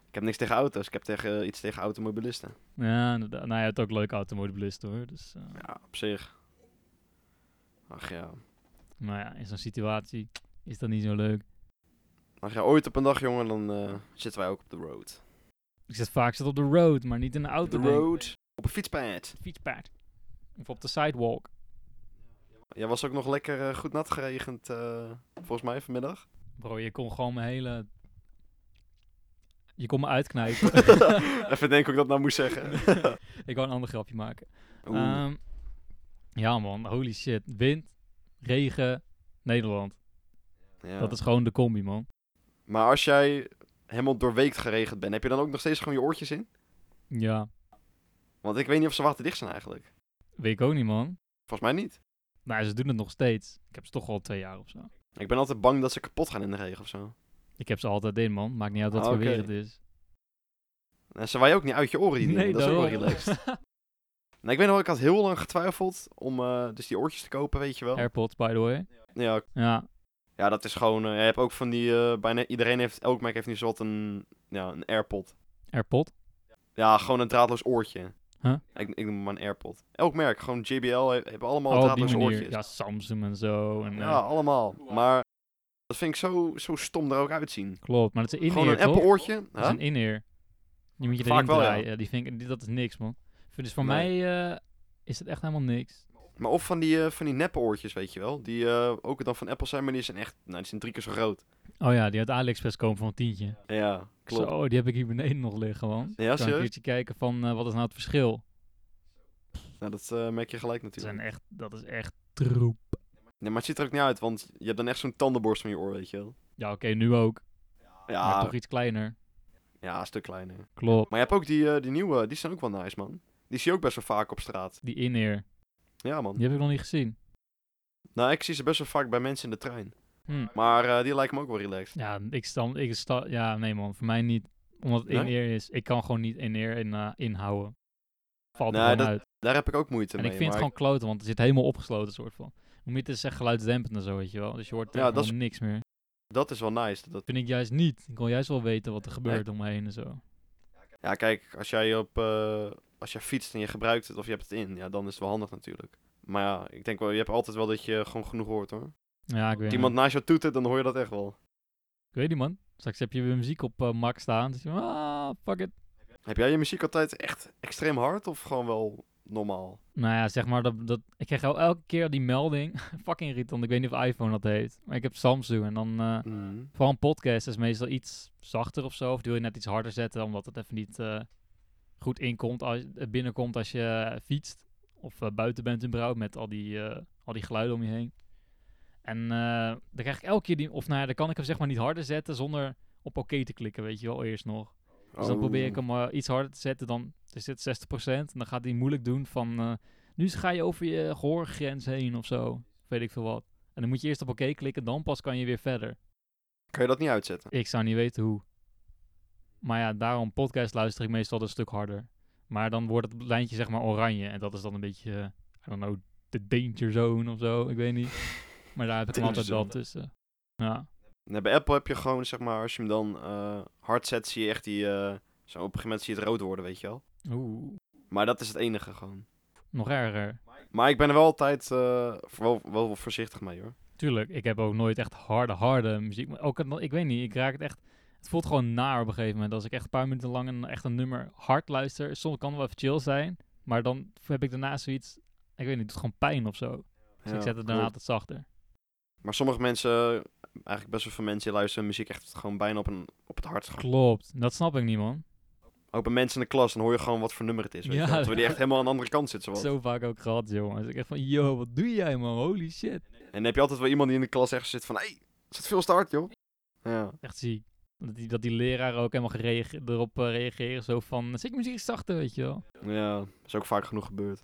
S2: Ik heb niks tegen auto's, ik heb tegen, eh, iets tegen automobilisten.
S1: ja, inderdaad. Nou, je hebt ook leuke automobilisten, hoor. Dus, eh,
S2: Ja, op zich. Ach ja.
S1: Maar ja, in zo'n situatie is dat niet zo leuk.
S2: Ach ja, ooit op een dag, jongen, dan eh, zitten wij ook op de road.
S1: Ik zit vaak zit op de road, maar niet in de auto.
S2: Op de
S1: denk ik.
S2: road. Op een fietspad.
S1: fietspad. Of op de sidewalk.
S2: Jij was ook nog lekker eh, goed nat geregend, eh, volgens mij, vanmiddag.
S1: Bro, je kon gewoon mijn hele... Je kon me uitknijpen.
S2: Even denken hoe ik dat nou moest zeggen.
S1: ik wou een ander grapje maken.
S2: Oeh.
S1: Ehm, ja man, holy shit. Wind, regen, Nederland.
S2: Ja.
S1: Dat is gewoon de combi man.
S2: Maar als jij helemaal doorweekt geregend bent, heb je dan ook nog steeds gewoon je oortjes in?
S1: Ja,
S2: Want ik weet niet of ze waterdicht zijn eigenlijk.
S1: weet ik ook niet man.
S2: Volgens mij niet.
S1: Maar ze doen het nog steeds. Ik heb ze toch al twee jaar of zo.
S2: Ik ben altijd bang dat ze kapot gaan in de regen of zo.
S1: Ik heb ze altijd in man. Maakt niet uit wat
S2: Ah,
S1: voor
S2: oké.
S1: weer het is.
S2: En Eh, ze waaien ook niet uit je oren die dingen. dat is ook wel
S1: daarom.
S2: relaxed. Nou, ik weet nog, ik had heel lang getwijfeld om eh, dus die oortjes te kopen, weet je wel.
S1: AirPods by the way.
S2: Ja,
S1: Ja,
S2: ja, dat is gewoon... eh, je hebt ook van die... eh, bijna iedereen heeft... Elk merk heeft nu zowat een, ja, een AirPod.
S1: AirPod.
S2: Ja, gewoon een draadloos oortje.
S1: Huh?
S2: Ik, ik noem maar een AirPod. Elk merk, gewoon JBL, he- hebben allemaal
S1: Oh, op die
S2: draadloos
S1: manier.
S2: oortjes.
S1: Ja, Samsung en zo. En, eh,
S2: Ja, allemaal. Maar dat vind ik zo, zo stom er ook uitzien.
S1: Klopt, maar dat is een
S2: Gewoon
S1: in-ear,
S2: een
S1: toch?
S2: Apple oortje.
S1: Dat is
S2: Huh?
S1: een in-ear. Die moet je
S2: Vaak
S1: erin
S2: wel, ja.
S1: draaien. Ja, Die vind ik, die- dat is niks, man. Dus voor
S2: Nee.
S1: mij eh, is het echt helemaal niks.
S2: Maar of van die, eh van die neppe oortjes, weet je wel. Die eh, ook dan van Apple zijn, maar die zijn echt... Nou, die zijn drie keer zo groot.
S1: Oh ja, die uit AliExpress komen voor een tientje.
S2: Ja, klopt.
S1: Zo, die heb ik hier beneden nog liggen, man.
S2: Ja,
S1: kan ik een
S2: serieus?
S1: keertje kijken van eh, wat is nou het verschil.
S2: Nou, dat eh, merk je gelijk
S1: Dat,
S2: natuurlijk.
S1: zijn echt, dat is echt troep.
S2: Nee, maar het ziet er ook niet uit, want je hebt dan echt zo'n tandenborst van je oor, weet je wel.
S1: Ja, oké, nu ook. Maar
S2: Ja,
S1: toch iets kleiner.
S2: ja, een stuk kleiner.
S1: Klopt,
S2: Maar je hebt ook die, eh, die nieuwe, die zijn ook wel nice, man. Die zie je ook best wel vaak op straat.
S1: die in-ear.
S2: Ja, man.
S1: Die heb ik nog niet gezien.
S2: Nou, ik zie ze best wel vaak bij mensen in de trein.
S1: Hm.
S2: Maar eh, die lijken me ook wel relaxed.
S1: Ja, ik stam, ik sta, ja, nee man, voor mij niet. Omdat het
S2: Nee?
S1: in-ear is. Ik kan gewoon niet in-ear in, eh, inhouden. Valt er
S2: Nee,
S1: gewoon
S2: dat-
S1: uit.
S2: Daar heb ik ook moeite
S1: en
S2: mee.
S1: ik vind het
S2: maar
S1: gewoon kloten, want het zit helemaal opgesloten soort van. Om niet te zeggen geluidsdempend en zo, weet je wel. Dus je hoort
S2: Ja,
S1: ja,
S2: dat is-
S1: niks meer.
S2: dat is wel nice. Dat,
S1: Vind ik juist niet. Ik wil juist wel weten wat er gebeurt om me heen en zo.
S2: ja, kijk, als jij op eh, als jij fietst en je gebruikt het of je hebt het in, ja, dan is het wel handig natuurlijk. Maar ja, ik denk wel, je hebt altijd wel dat je gewoon genoeg hoort hoor.
S1: Ja, ik weet
S2: Als iemand
S1: niet.
S2: naast jou toetert, dan hoor je dat echt wel.
S1: Ik weet niet, man. Straks heb je weer muziek op eh, max staan. Dus je, ah, fuck it.
S2: Heb jij je muziek altijd echt extreem hard of gewoon wel normaal?
S1: Nou ja, zeg maar, dat, dat, ik krijg el- elke keer die melding. Fucking irritant, ik weet niet of iPhone dat heet. Maar ik heb Samsung en dan... eh,
S2: Mhm.
S1: Vooral een podcast is meestal iets zachter of zo. Of die wil je net iets harder zetten, omdat het even niet eh, goed inkomt als, eh, binnenkomt als je eh, fietst. Of eh, buiten bent in brouw met al die, eh, al die geluiden om je heen. En eh, dan krijg ik elke keer die... Of nou ja, dan kan ik hem zeg maar niet harder zetten zonder op oké te klikken, weet je wel, eerst nog. Dus dan
S2: Oh.
S1: probeer ik hem eh, iets harder te zetten, dan is dit 60%. En dan gaat hij moeilijk doen van... eh, nu ga je over je gehoorgrens heen of zo. Weet ik veel wat. En dan moet je eerst op oké klikken, dan pas kan je weer verder.
S2: Kan je dat niet uitzetten?
S1: Ik zou niet weten hoe. Maar ja, daarom podcast luister ik meestal een stuk harder. Maar dan wordt het lijntje zeg maar oranje. En dat is dan een beetje, eh, I don't know, de danger zone of zo. Ik weet niet. Maar daar heb ik hem
S2: Danger
S1: altijd wel
S2: zone.
S1: tussen. Ja,
S2: Nee, bij Apple heb je gewoon, zeg maar, als je hem dan eh, hard zet, zie je echt die... eh, zo, op een gegeven moment zie je het rood worden, weet je wel.
S1: oeh,
S2: Maar dat is het enige gewoon.
S1: nog erger.
S2: Maar ik ben er wel altijd eh, wel, wel voorzichtig mee, hoor.
S1: Tuurlijk, ik heb ook nooit echt harde, harde muziek. Maar ook, het- ik weet niet, ik raak het echt... Het voelt gewoon naar op een gegeven moment. Als ik echt een paar minuten lang een, echt een nummer hard luister. Soms kan het wel even chill zijn. Maar dan heb ik daarna zoiets... Ik weet niet, het doet gewoon pijn of zo. Dus
S2: Ja,
S1: ik zet het daarna
S2: klopt.
S1: altijd zachter.
S2: Maar sommige mensen, eigenlijk best wel veel mensen, die luisteren muziek echt gewoon bijna op, een, op het hart. Gewoon.
S1: Klopt, dat snap ik niet, man.
S2: Ook bij mensen in de klas, dan hoor je gewoon wat voor nummer het is, weet
S1: Ja,
S2: je wel. Terwijl die
S1: ja.
S2: echt helemaal aan de andere kant zitten. Zo.
S1: Zo vaak ook gehad, jongen. Dus ik echt van, yo, wat doe jij, man? Holy shit.
S2: En dan heb je altijd wel iemand die in de klas echt zit van... Hé, hey, is het veel te hard, joh? Ja.
S1: Echt ziek. Dat die, dat die leraar ook helemaal gerege- erop eh, reageren. Zo van, zet je muziek zachter, weet je wel.
S2: ja, dat is ook vaak genoeg gebeurd.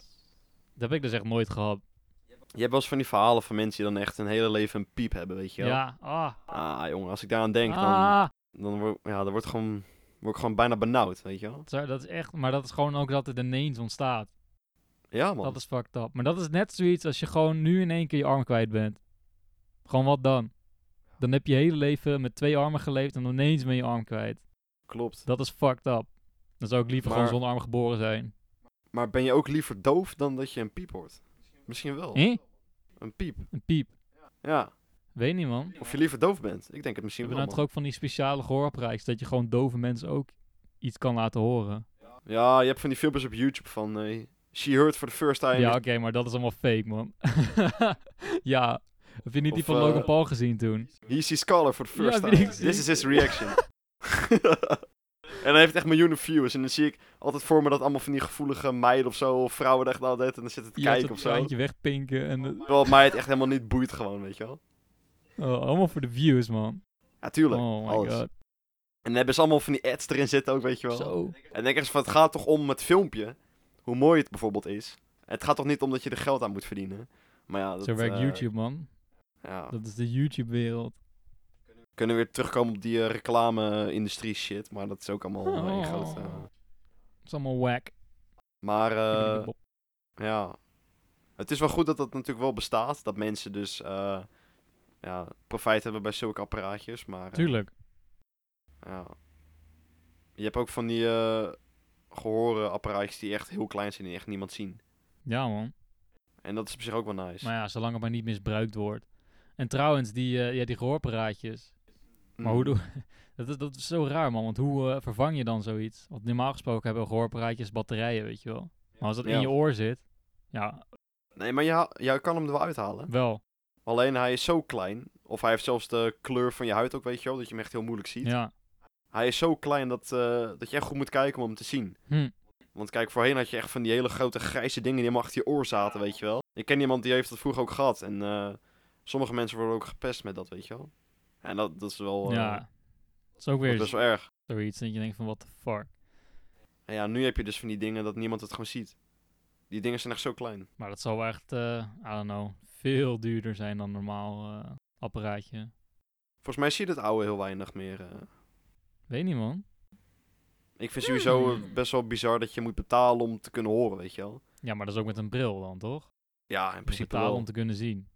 S1: Dat heb ik dus echt nooit gehad.
S2: Je hebt wel eens van die verhalen van mensen die dan echt hun hele leven een piep hebben, weet je
S1: Ja,
S2: wel.
S1: ah.
S2: Ah, jongen, als ik daaraan denk, dan,
S1: ah.
S2: dan, word, ja, dan wordt gewoon, word ik gewoon bijna benauwd, weet je wel.
S1: Zo, Dat is echt, maar dat is gewoon ook dat het ineens ontstaat.
S2: Ja, man.
S1: Dat is fucked up. Maar dat is net zoiets als je gewoon nu in één keer je arm kwijt bent. Gewoon wat dan? Dan heb je hele leven met twee armen geleefd en ineens ben je arm kwijt.
S2: Klopt.
S1: Dat is fucked up. Dan zou ik liever
S2: Maar-
S1: gewoon zonder arm geboren zijn.
S2: Maar ben je ook liever doof dan dat je een piep hoort? Misschien wel.
S1: Hé?
S2: Een piep.
S1: Een piep.
S2: Ja.
S1: Weet niet, man.
S2: Of je liever doof bent. Ik denk het misschien
S1: We
S2: wel,
S1: hebben
S2: man.
S1: toch ook van die speciale gehoorapparaatjes dat je gewoon dove mensen ook iets kan laten horen.
S2: Ja, je hebt van die filmpjes op YouTube van... eh, She heard for the first time.
S1: ja, oké, maar dat is allemaal fake, man. ja. Heb je niet die
S2: Of,
S1: van
S2: eh,
S1: Logan Paul gezien toen?
S2: He sees color for the
S1: Ja,
S2: first
S1: heb je
S2: time.
S1: die gezien?
S2: This is his reaction. en dan heeft het echt miljoenen views. En dan zie ik altijd voor me dat allemaal van die gevoelige meiden of zo... of vrouwen er echt altijd en dan zitten te
S1: Je had
S2: kijken
S1: dat
S2: of zo.
S1: randje wegpinken en... eh,
S2: Terwijl het mij het echt helemaal niet boeit gewoon, weet je wel.
S1: oh, allemaal voor de views, man.
S2: Ja, tuurlijk.
S1: Oh my
S2: alles.
S1: god.
S2: En dan hebben ze allemaal van die ads erin zitten ook, weet je wel.
S1: Zo.
S2: En dan denk ik eens van, het gaat toch om het filmpje. Hoe mooi het bijvoorbeeld is. Het gaat toch niet om dat je er geld aan moet verdienen. Maar ja, dat,
S1: Zo werkt
S2: eh,
S1: YouTube, man.
S2: Ja.
S1: Dat is de YouTube-wereld.
S2: Kunnen we weer terugkomen op die eh, reclame-industrie shit. Maar dat is ook allemaal eh,
S1: Oh.
S2: een grote...
S1: Dat is allemaal whack.
S2: Maar eh, ja, het is wel goed dat dat natuurlijk wel bestaat. Dat mensen dus eh, ja, profijt hebben bij zulke apparaatjes. Maar eh,
S1: Tuurlijk.
S2: ja. je hebt ook van die eh gehoorapparaatjes die echt heel klein zijn en die echt niemand zien.
S1: Ja, man.
S2: En dat is op zich ook wel nice.
S1: Maar ja, zolang het maar niet misbruikt wordt. En trouwens, die, eh, ja, die gehoorapparaatjes.
S2: Mm.
S1: Maar hoe doe... Dat is, dat is zo raar, man. Want hoe eh, vervang je dan zoiets? Want normaal gesproken hebben gehoorapparaatjes batterijen, weet je wel. Maar als dat
S2: Ja.
S1: in je oor zit... Ja,
S2: Nee, maar je, haal- je kan hem er wel uithalen.
S1: wel.
S2: Alleen hij is zo klein. Of hij heeft zelfs de kleur van je huid ook, weet je wel. Dat je hem echt heel moeilijk ziet.
S1: Ja.
S2: Hij is zo klein dat, eh, dat je echt goed moet kijken om hem te zien.
S1: Hm.
S2: Want kijk, voorheen had je echt van die hele grote grijze dingen die helemaal achter je oor zaten, weet je wel. Ik ken iemand die heeft dat vroeger ook gehad. En eh, sommige mensen worden ook gepest met dat, weet je wel. En dat, dat is wel, eh, oh,
S1: ja. Dat is ook
S2: dat is
S1: weer
S2: best wel erg.
S1: zoiets. Dat je denkt van, what the fuck.
S2: En ja, nu heb je dus van die dingen dat niemand het gewoon ziet. Die dingen zijn echt zo klein.
S1: Maar dat zal wel echt, eh, I don't know, veel duurder zijn dan normaal eh, apparaatje.
S2: Volgens mij zie je dat oude heel weinig meer. eh.
S1: Weet niet, man.
S2: Ik Ik vind sowieso eh, best wel bizar dat je moet betalen om te kunnen horen, weet je wel.
S1: Ja, maar dat is ook met een bril dan, toch?
S2: Ja, in
S1: Je moet
S2: principe
S1: betalen om
S2: wel.
S1: te kunnen zien.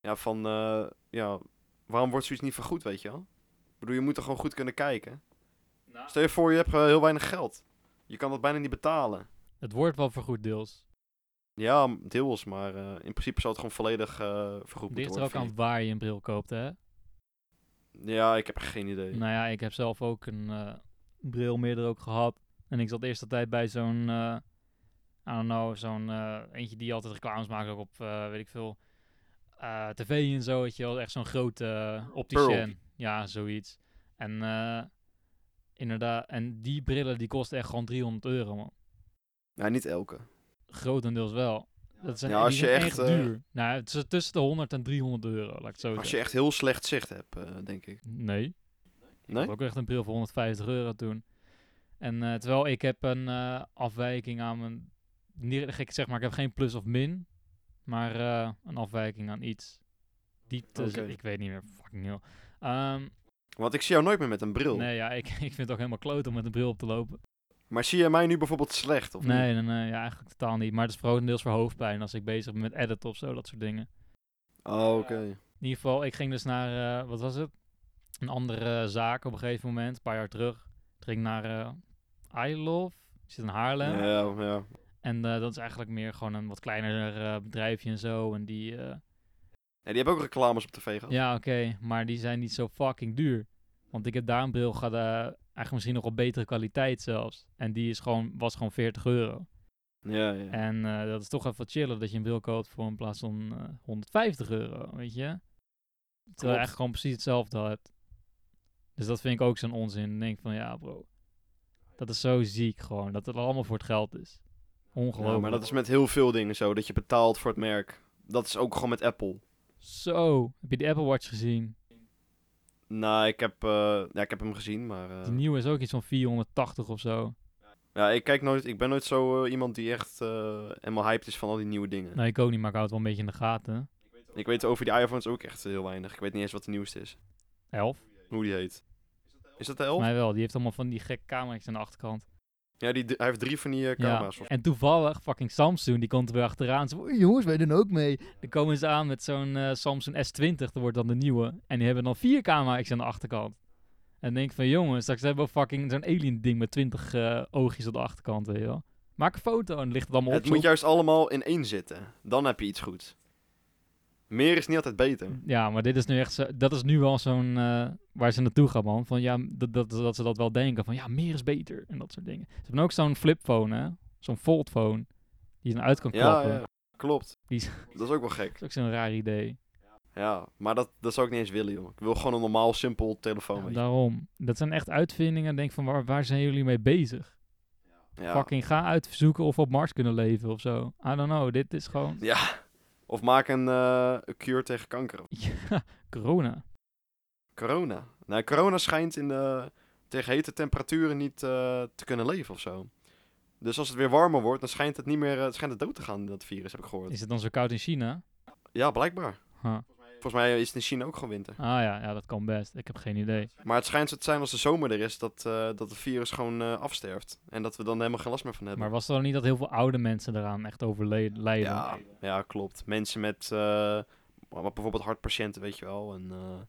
S2: Ja, van, eh, ja, waarom wordt zoiets niet vergoed, weet je wel? Ik bedoel, je moet er gewoon goed kunnen kijken. Stel je voor, je hebt eh, heel weinig geld. Je kan dat bijna niet betalen.
S1: Het wordt wel vergoed deels.
S2: Ja, m- deels, maar eh, in principe zou het gewoon volledig eh vergoed
S1: Het
S2: moeten
S1: ligt er
S2: worden.
S1: ook aan
S2: vind
S1: waar je een bril koopt, hè?
S2: ik. Ja, ik heb echt geen idee.
S1: Nou ja, ik heb zelf ook een eh, bril meerder ook gehad. En ik zat de eerste tijd bij zo'n, eh I don't know, zo'n eh, eentje die altijd reclames maakt ook op, eh, weet ik veel, eh, tv en zo. Weet je wel, echt zo'n grote eh, opticien. Ja, zoiets. En eh, inderdaad, en die brillen die kosten echt gewoon 300 euro, man.
S2: Ja, niet elke.
S1: Grotendeels wel. Dat zijn,
S2: Ja,
S1: die
S2: als je
S1: zijn echt
S2: echt, eh,
S1: duur. Nou, het is tussen de 100 en 300 euro, laat ik het zo
S2: Als
S1: zeggen.
S2: je echt heel slecht zicht hebt, eh, denk ik.
S1: Nee.
S2: Nee?
S1: Ik had ook echt een bril voor 150 euro toen. En eh, terwijl ik heb een eh, afwijking aan mijn... Niet, ik zeg maar, ik heb geen plus of min. Maar eh, een afwijking aan iets. Die te-
S2: Oké.
S1: Ik weet niet meer, fucking heel. Ehm,
S2: Want ik zie jou nooit meer met een bril.
S1: nee, ja, ik, ik vind het ook helemaal kloot om met een bril op te lopen.
S2: Maar zie jij mij nu bijvoorbeeld slecht? Of niet?
S1: Nee, nee, nee, ja, eigenlijk totaal niet. Maar het is grotendeels voor hoofdpijn als ik bezig ben met editen of zo, dat soort dingen.
S2: Oh, oké.
S1: In ieder geval, ik ging dus naar, eh, wat was het? Een andere zaak op een gegeven moment, een paar jaar terug. Ik ging naar eh I Love, zit in Haarlem.
S2: Ja, ja.
S1: En eh, dat is eigenlijk meer gewoon een wat kleiner eh, bedrijfje en zo. En die, eh,
S2: En die hebben ook reclames op tv gehad.
S1: ja oké, maar die zijn niet zo fucking duur. Want ik heb daar een bril gehad, eh, eigenlijk misschien nog op betere kwaliteit zelfs. En die is gewoon, was gewoon 40 euro.
S2: Ja, ja.
S1: En eh, dat is toch even wat chiller dat je een bril koopt voor in plaats van eh, 150 euro, weet je? Terwijl je
S2: Klopt.
S1: eigenlijk gewoon precies hetzelfde hebt. Dus dat vind ik ook zo'n onzin. Dan denk ik van, ja bro, dat is zo ziek gewoon. Dat het allemaal voor het geld is. Ongelooflijk.
S2: Ja, maar dat is met heel veel dingen zo, dat je betaalt voor het merk. Dat is ook gewoon met Apple.
S1: Zo, heb je die Apple Watch gezien?
S2: Nou, ik heb, eh, ja, ik heb hem gezien, maar... eh,
S1: Die nieuwe is ook iets van 480 of zo.
S2: ja, ik, kijk nooit, ik ben nooit zo eh, iemand die echt eh, helemaal hyped is van al die nieuwe dingen.
S1: Nou, ik ook niet, maar ik hou het wel een beetje in de gaten.
S2: Ik weet over die iPhones ook echt heel weinig. Ik weet niet eens wat de nieuwste is.
S1: 11?
S2: Hoe die heet. Is dat de
S1: Volgens
S2: 11?
S1: mij wel. Die heeft allemaal van die gekke camera's aan de achterkant.
S2: Ja, die, hij heeft drie van die eh, camera's.
S1: Ja. En toevallig, fucking Samsung, die komt er weer achteraan. Ze van, "Oei, jongens, wij doen ook mee. Dan komen ze aan met zo'n eh, Samsung S20, dat wordt dan de nieuwe. En die hebben dan vier camera's aan de achterkant. En dan denk ik van, jongens, straks hebben we fucking zo'n alien ding met 20 eh, oogjes aan de achterkant, weet je wel. Maak een foto en ligt het allemaal op.
S2: Het
S1: zo.
S2: moet juist allemaal in één zitten. Dan heb je iets goed. Meer is niet altijd beter.
S1: Ja, maar dit is nu echt zo, dat is nu wel zo'n eh, waar ze naartoe gaan, man. Van ja, dat, dat, dat ze dat wel denken. Van ja, meer is beter en dat soort dingen. Ze hebben ook zo'n flipphone, hè? Zo'n foldphone. Die je dan uit kan
S2: Ja,
S1: klappen.
S2: ja, klopt.
S1: Die is-
S2: Dat is ook wel gek.
S1: Dat is ook zo'n raar idee.
S2: Ja, maar dat, dat zou ik niet eens willen, joh. Ik wil gewoon een normaal, simpel telefoon.
S1: Ja,
S2: weet je.
S1: daarom. Dat zijn echt uitvindingen. Denk van waar, waar zijn jullie mee bezig?
S2: Ja.
S1: Fucking ga uitzoeken of we op Mars kunnen leven of zo. I don't know. Dit is gewoon
S2: Ja. Of maak een, eh, een cure tegen kanker.
S1: ja, corona.
S2: Corona. Nou, corona schijnt in de, tegen hete temperaturen niet eh, te kunnen leven of zo. Dus als het weer warmer wordt, dan schijnt het niet meer eh, het schijnt het dood te gaan, dat virus, heb ik gehoord.
S1: Is het dan zo koud in China?
S2: Ja, blijkbaar.
S1: Huh.
S2: Volgens mij is het in China ook gewoon winter.
S1: Ah ja, ja, dat kan best. Ik heb geen idee.
S2: Maar het schijnt zo te zijn als de zomer er is, dat, eh, dat het virus gewoon eh, afsterft. En dat we dan helemaal geen last meer van hebben.
S1: Maar was er dan niet dat heel veel oude mensen eraan echt overlijden?
S2: ja, ja, klopt. Mensen met eh, wat bijvoorbeeld hartpatiënten, weet je wel. En eh,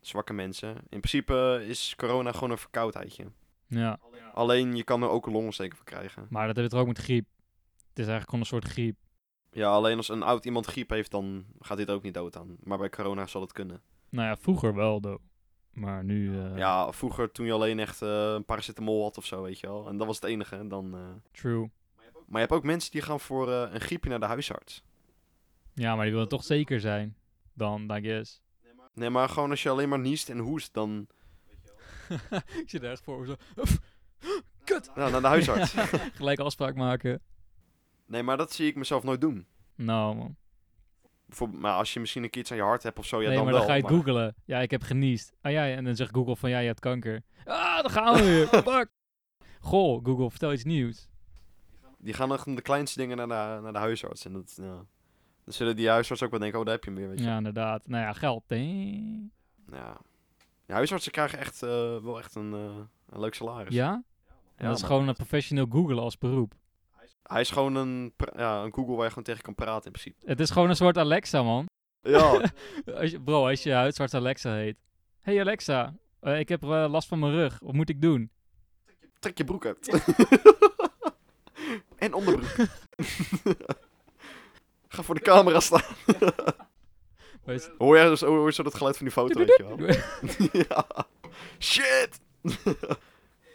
S2: zwakke mensen. In principe is corona gewoon een verkoudheidje.
S1: Ja,
S2: Alleen je kan er ook een longontsteking voor krijgen.
S1: maar dat hebben we toch ook met griep. Het is eigenlijk gewoon een soort griep.
S2: Ja, alleen als een oud iemand griep heeft, dan gaat dit ook niet dood aan. Maar bij corona zal het kunnen.
S1: Nou ja, vroeger wel, though. Maar nu... eh,
S2: Ja, vroeger toen je alleen echt eh, een paracetamol had of zo, weet je wel. En dat was het enige. Dan, eh.
S1: True.
S2: Maar je hebt ook mensen die gaan voor eh, een griepje naar de huisarts.
S1: Ja, maar die willen toch zeker zijn. Dan, I guess.
S2: Nee, maar gewoon als je alleen maar niest en hoest, dan
S1: Ik zit er echt voor zo... Kut!
S2: nou, naar de huisarts.
S1: Gelijk afspraak maken.
S2: Nee, maar dat zie ik mezelf nooit doen.
S1: Nou, man.
S2: Bijvoorbeeld, maar als je misschien een keer iets aan je hart hebt of zo, ja,
S1: nee,
S2: dan
S1: maar
S2: wel.
S1: dan ga je
S2: maar-
S1: het googelen. Ja, ik heb geniest. Ah ja, en dan zegt Google van... Ja, je hebt kanker. Ah, dan gaan we weer. Fuck! Goh, Google, vertel iets nieuws.
S2: Die gaan echt om de kleinste dingen naar de, naar de huisarts. En dat, ja. Dan zullen die huisarts ook wel denken, oh, daar heb je hem weer, weet je.
S1: Ja, inderdaad. Nou ja, geld. hè?
S2: Ja. Ja, huisartsen krijgen echt eh, wel echt een, eh, een leuk salaris.
S1: Ja?
S2: Ja,
S1: En dat is gewoon een professioneel googlen als beroep.
S2: Hij is gewoon een, pra- ja, een Google waar je gewoon tegen kan praten in principe.
S1: Het is gewoon een soort Alexa, man.
S2: Ja,
S1: Als je, bro, als je huisarts Alexa heet. Hey Alexa, eh, ik heb eh, last van mijn rug. Wat moet ik doen?
S2: trek je broek uit. en onderbroek. Ga voor de camera staan.
S1: Maar is-
S2: Hoor jij dus, hoor je zo dat geluid van die foto, weet je wel? ja. Shit!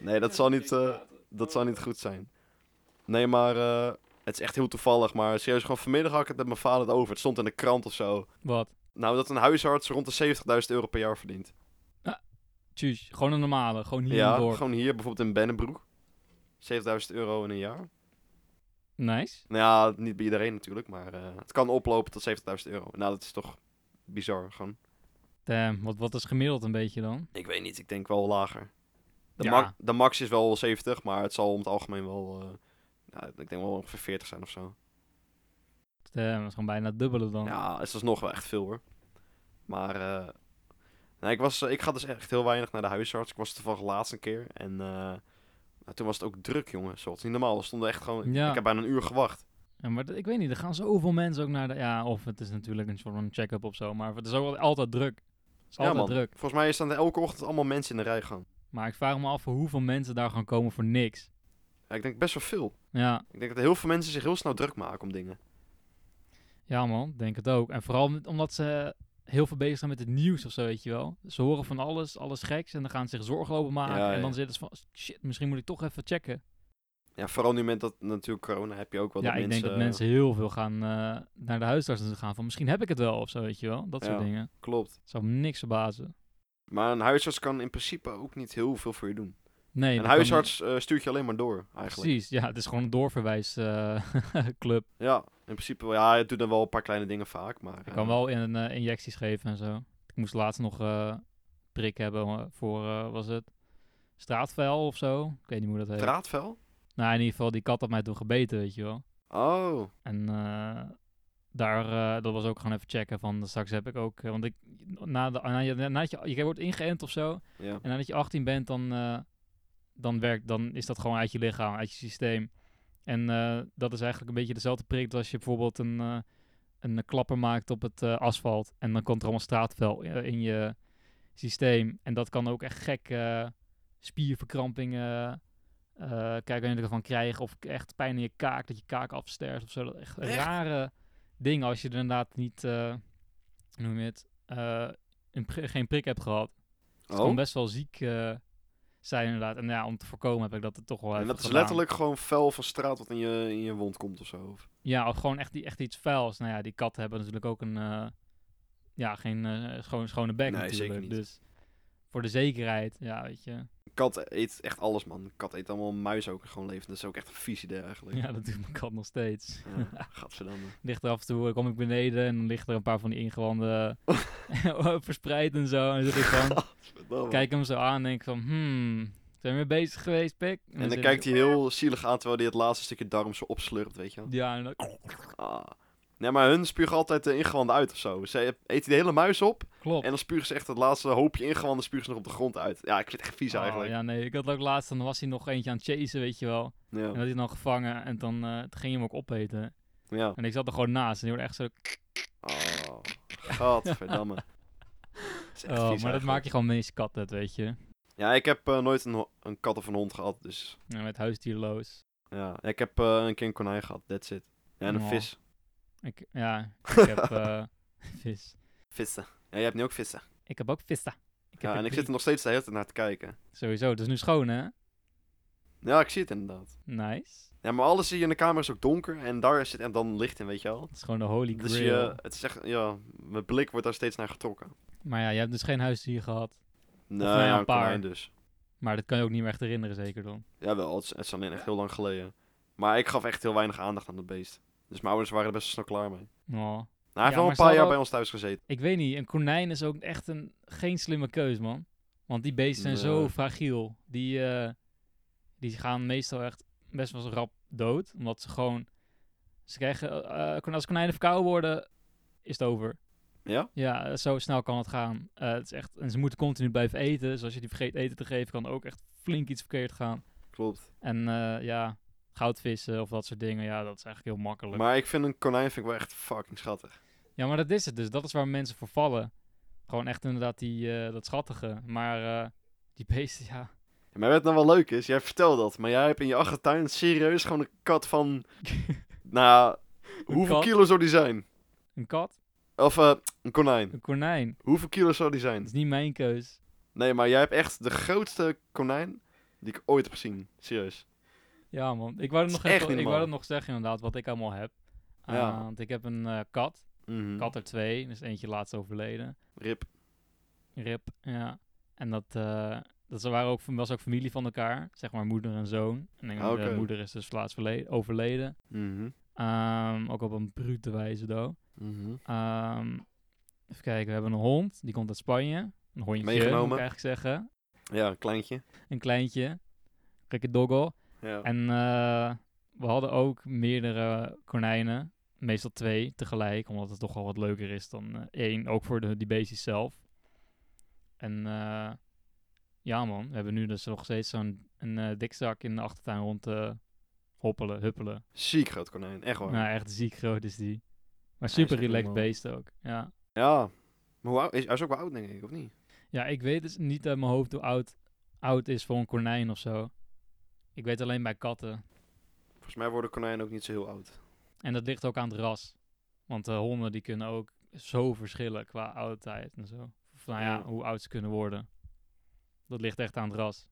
S2: nee, dat zal, niet, eh, dat zal niet goed zijn. Nee, maar eh, het is echt heel toevallig. Maar serieus, gewoon vanmiddag had ik het met mijn vader over. Het stond in de krant of zo.
S1: Wat?
S2: Nou, dat een huisarts rond de 70.000 euro per jaar verdient.
S1: Tjus, gewoon een normale. Gewoon hier
S2: ja,
S1: door.
S2: gewoon hier bijvoorbeeld in Bennebroek. 7000 euro in een jaar.
S1: Nice.
S2: Nou ja, niet bij iedereen natuurlijk, maar eh, het kan oplopen tot 70.000 euro. Nou, dat is toch bizar gewoon.
S1: Damn, wat, wat is gemiddeld een beetje dan?
S2: Ik weet niet, ik denk wel lager. De,
S1: Ja.
S2: ma- de max is wel 70, maar het zal om het algemeen wel, eh, nou, ik denk wel ongeveer 40 zijn of zo.
S1: Damn, dat is gewoon bijna het dubbele dan.
S2: Ja, het is nog wel echt veel hoor. Maar eh, nou, ik, was, eh, ik ga dus echt heel weinig naar de huisarts. Ik was toevallig laatst een keer. En eh, nou, toen was het ook druk, jongen. Zo, het is niet normaal. We stonden echt gewoon...
S1: Ja.
S2: Ik heb bijna een uur gewacht.
S1: Ja, maar dat- ik weet niet, er gaan zoveel mensen ook naar de... Ja, of het is natuurlijk een soort van check-up of zo, maar het is ook wel altijd druk. Het is
S2: Ja,
S1: altijd
S2: man.
S1: druk.
S2: Volgens mij staan er elke ochtend allemaal mensen in de rij gaan.
S1: Maar ik vraag me af voor hoeveel mensen daar gaan komen voor niks.
S2: Ja, ik denk best wel veel.
S1: Ja,
S2: Ik denk dat heel veel mensen zich heel snel druk maken om dingen.
S1: ja man, denk het ook. En vooral met- omdat ze heel veel bezig zijn met het nieuws of zo, weet je wel. Ze horen van alles, alles geks en dan gaan ze zich zorgen lopen maken.
S2: Ja,
S1: En
S2: ja.
S1: dan zitten ze van, shit, misschien moet ik toch even checken.
S2: Ja, vooral nu met dat natuurlijk corona heb je ook wel
S1: ja,
S2: dat
S1: ik
S2: mensen...
S1: denk dat mensen heel veel gaan eh, naar de huisarts en ze gaan van, misschien heb ik het wel of zo, weet je wel. Dat soort
S2: Ja.
S1: dingen.
S2: Klopt.
S1: Zou me niks verbazen.
S2: Maar een huisarts kan in principe ook niet heel veel voor je doen.
S1: Nee, dat
S2: een
S1: kan-
S2: huisarts eh, stuurt je alleen maar door, eigenlijk.
S1: Precies, ja, het is gewoon een doorverwijsclub. club.
S2: Ja, in principe... wel. Ja, het doet dan wel een paar kleine dingen vaak, maar...
S1: Ik
S2: eh,
S1: kan wel in, eh, injecties geven en zo. Ik moest laatst nog eh prik hebben eh, voor, eh, was het straatvuil of zo? Ik weet niet hoe dat heet.
S2: Draadvel?
S1: nou, in ieder geval, die kat had mij toen gebeten, weet je wel.
S2: Oh,
S1: En eh, daar, eh, dat was ook gewoon even checken van, straks heb ik ook... eh, want ik, na de, na je, nadat je, je wordt ingeënt of zo,
S2: ja.
S1: en nadat je 18 bent, dan, eh, dan, werkt, dan is dat gewoon uit je lichaam, uit je systeem. En eh, dat is eigenlijk een beetje dezelfde prik als je bijvoorbeeld een, eh, een klapper maakt op het eh, asfalt. En dan komt er allemaal straatvuil eh, in je systeem. En dat kan ook echt gek eh, spierverkrampingen. eh kijk, kan je ervan krijgen of echt pijn in je kaak, dat je kaak afsterft of zo. Dat echt,
S2: Echt?
S1: rare dingen als je er inderdaad niet, eh, hoe noem je het, eh, een pri- geen prik hebt gehad. Het
S2: Oh.
S1: kan best wel ziek eh, zijn inderdaad. En ja, om te voorkomen heb ik dat er toch wel
S2: En
S1: even
S2: dat is
S1: gedaan.
S2: letterlijk gewoon fel van straat wat in je, in je wond komt of zo. Of-
S1: Ja, of gewoon echt, i- echt iets vuils. Nou ja, die katten hebben natuurlijk ook een... eh, ja, geen eh, schoon, schone bek
S2: Nee,
S1: natuurlijk.
S2: zeker niet.
S1: Dus voor de zekerheid, ja, weet je.
S2: Een kat eet echt alles, man. Een kat eet allemaal muis ook gewoon leven. Dat is ook echt een vies idee eigenlijk.
S1: Ja, dat doet mijn kat nog steeds.
S2: Ja, Gadverdamme.
S1: Ligt er af en toe, eh, kom ik beneden en dan ligt er een paar van die ingewanden eh, verspreid en zo. En dan zit ik
S2: Oh.
S1: van,
S2: Gadverdamme.
S1: kijk hem zo aan en denk van, hmm, zijn we mee bezig geweest, Pik?
S2: en dan
S1: zit
S2: kijkt hij
S1: "Ah."
S2: heel zielig aan terwijl hij het laatste stukje darm zo opslurpt, weet je wel.
S1: Ja, en dan...
S2: Ah. Nee, maar hun spugen altijd de ingewanden uit of zo. Ze eten de hele muis op
S1: klopt.
S2: en dan spugen ze echt het laatste hoopje ingewanden spugen ze nog op de grond uit. Ja, ik vind het echt vies
S1: Oh,
S2: eigenlijk.
S1: Ja, nee, ik had ook laatst, dan was hij nog eentje aan het chasen, weet je wel.
S2: Ja.
S1: En dat hij dan gevangen en dan eh, toen ging hij hem ook opeten.
S2: ja.
S1: En ik zat er gewoon naast en die hoorde echt zo...
S2: Oh, gadverdamme. Dat is echt
S1: oh, maar
S2: vies
S1: dat
S2: eigenlijk.
S1: maak je gewoon meest kat, dat weet je.
S2: Ja, ik heb eh, nooit een, ho- een kat of een hond gehad, dus
S1: En met huisdierloos.
S2: ja. Ik heb eh, een keer een konijn gehad, that's it. Ja, en een
S1: Oh.
S2: vis.
S1: Ik, ja, ik heb eh, vis.
S2: Vissen. Ja, jij hebt nu ook vissen.
S1: Ik heb ook vista. Ik heb
S2: Ja,
S1: er
S2: en ik
S1: drie.
S2: zit er nog steeds de hele tijd naar te kijken.
S1: Sowieso, het is nu schoon, hè?
S2: Ja, ik zie het inderdaad.
S1: Nice.
S2: Ja, maar alles hier in de kamer is ook donker en daar zit en dan licht in, weet je wel.
S1: Het is gewoon de holy grail.
S2: Dus je, het is echt, ja, mijn blik wordt daar steeds naar getrokken.
S1: Maar ja, je hebt dus geen huisdier gehad.
S2: Nee,
S1: nou ja,
S2: ja,
S1: een
S2: een
S1: paar.
S2: konijn dus.
S1: Maar dat kan je ook niet meer echt herinneren, zeker dan.
S2: Jawel, het is, het is alleen echt heel lang geleden. Maar ik gaf echt heel weinig aandacht aan dat beest. Dus mijn ouders waren er best wel snel klaar mee.
S1: Oh.
S2: Nou, hij
S1: maar
S2: heeft wel een
S1: zou
S2: paar jaar
S1: dat-
S2: bij ons thuis gezeten.
S1: Ik weet niet, een konijn is ook echt een, geen slimme keus, man. Want die beesten zijn zo
S2: Nee.
S1: fragiel. Die, eh, die gaan meestal echt best wel eens rap dood. Omdat ze gewoon... Ze krijgen, eh, kon- als konijnen verkouden worden, is het over.
S2: Ja?
S1: Ja, zo snel kan het gaan. Eh, het is echt, en ze moeten continu blijven eten. Dus als je die vergeet eten te geven, kan er ook echt flink iets verkeerd gaan.
S2: klopt.
S1: En eh, ja, goudvissen of dat soort dingen, ja, dat is eigenlijk heel makkelijk.
S2: Maar ik vind een konijn vind ik wel echt fucking schattig.
S1: Ja, maar dat is het dus. Dat is waar mensen voor vallen. Gewoon echt inderdaad die, eh, dat schattige. Maar eh, die beesten, ja.
S2: Maar wat nou wel leuk is, jij vertelt dat, maar jij hebt in je achtertuin serieus gewoon een kat van, nou, hoeveel
S1: kat?
S2: kilo zou die zijn?
S1: Een kat,
S2: Of eh, een konijn.
S1: een konijn.
S2: Hoeveel kilo zou die
S1: Dat
S2: zijn?
S1: is niet mijn keus.
S2: Nee, maar jij hebt echt de grootste konijn die ik ooit heb gezien. Serieus.
S1: Ja, man. Ik wou het
S2: Dat
S1: nog,
S2: is echt
S1: even,
S2: niet
S1: ik wou dat
S2: normaal.
S1: nog zeggen, inderdaad, wat ik allemaal heb. Eh,
S2: Ja.
S1: Want ik heb een eh, kat.
S2: Mhm.
S1: Kat er twee. Dus eentje laatst overleden.
S2: Rip.
S1: Rip, ja. En dat, eh, dat ze waren ook, was ook familie van elkaar. Zeg maar moeder en zoon. En ik-
S2: Ah,
S1: de
S2: oké.
S1: moeder is dus laatst verle- overleden.
S2: Mhm.
S1: Ehm, ook op een brute wijze, though.
S2: Mhm.
S1: Ehm, even kijken, we hebben een hond. Die komt uit Spanje. Een hondje,
S2: Meegenomen.
S1: moet ik eigenlijk zeggen.
S2: Ja, een kleintje.
S1: Een kleintje. Rikke
S2: Oh.
S1: Doggo.
S2: Ja.
S1: En eh, we hadden ook meerdere konijnen. Meestal twee tegelijk, omdat het toch wel wat leuker is dan eh, één. Ook voor de, die beestjes zelf. En eh, ja man, we hebben nu dus nog steeds zo'n een, eh, dikzak in de achtertuin rond te hoppelen, huppelen.
S2: Ziek groot konijn, echt waar.
S1: Nou, echt ziek groot is die. Maar
S2: Hij is
S1: super
S2: echt
S1: relaxed
S2: helemaal-
S1: beest ook, ja.
S2: Ja. Maar hoe oud is, hij is ook wel oud, denk ik, of niet?
S1: Ja, ik weet dus niet uit mijn hoofd hoe oud, oud is voor een konijn of zo. Ik weet alleen bij katten.
S2: Volgens mij worden konijnen ook niet zo heel oud.
S1: En dat ligt ook aan het ras. Want eh, honden die kunnen ook zo verschillen qua oudheid en zo. Of nou ja,
S2: Ja.
S1: hoe oud ze kunnen worden. Dat ligt echt aan het ras.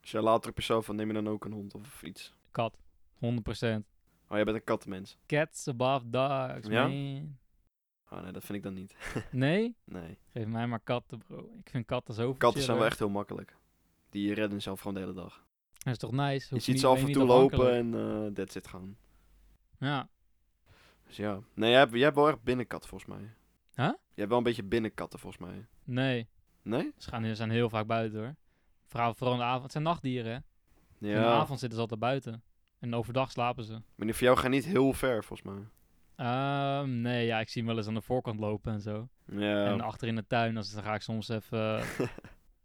S2: Als jij later op jezelf van neem je dan ook een hond of iets.
S1: Kat, 100%.
S2: Oh, jij bent een kattenmens.
S1: Cats above dogs,
S2: Ja?
S1: man.
S2: Oh nee, dat vind ik dan niet.
S1: Nee?
S2: Nee.
S1: Geef mij maar katten, bro. Ik vind katten zo
S2: Katten zijn wel
S1: chiller.
S2: echt heel makkelijk. Die redden zelf gewoon de hele dag.
S1: Dat is toch nice?
S2: Je
S1: Hoef
S2: ziet
S1: niet-
S2: ze af
S1: ben
S2: en
S1: je
S2: toe
S1: niet
S2: lopen
S1: afhankelijk.
S2: en eh that's it gewoon.
S1: Ja.
S2: Dus ja. Nee, jij hebt, jij hebt wel echt binnenkatten volgens mij.
S1: Huh?
S2: Je hebt wel een beetje binnenkatten volgens mij.
S1: Nee.
S2: Nee?
S1: Ze gaan, ze zijn heel vaak buiten, hoor. Vooral, vooral in de avond. Het zijn nachtdieren, hè? In de
S2: Ja.
S1: avond zitten ze altijd buiten. En overdag slapen ze.
S2: Maar die van jou gaan niet heel ver volgens mij.
S1: Ehm, nee, ja, ik zie hem wel eens aan de voorkant lopen en zo.
S2: Ja.
S1: En achter in de tuin, als, dan ga ik soms even... eh,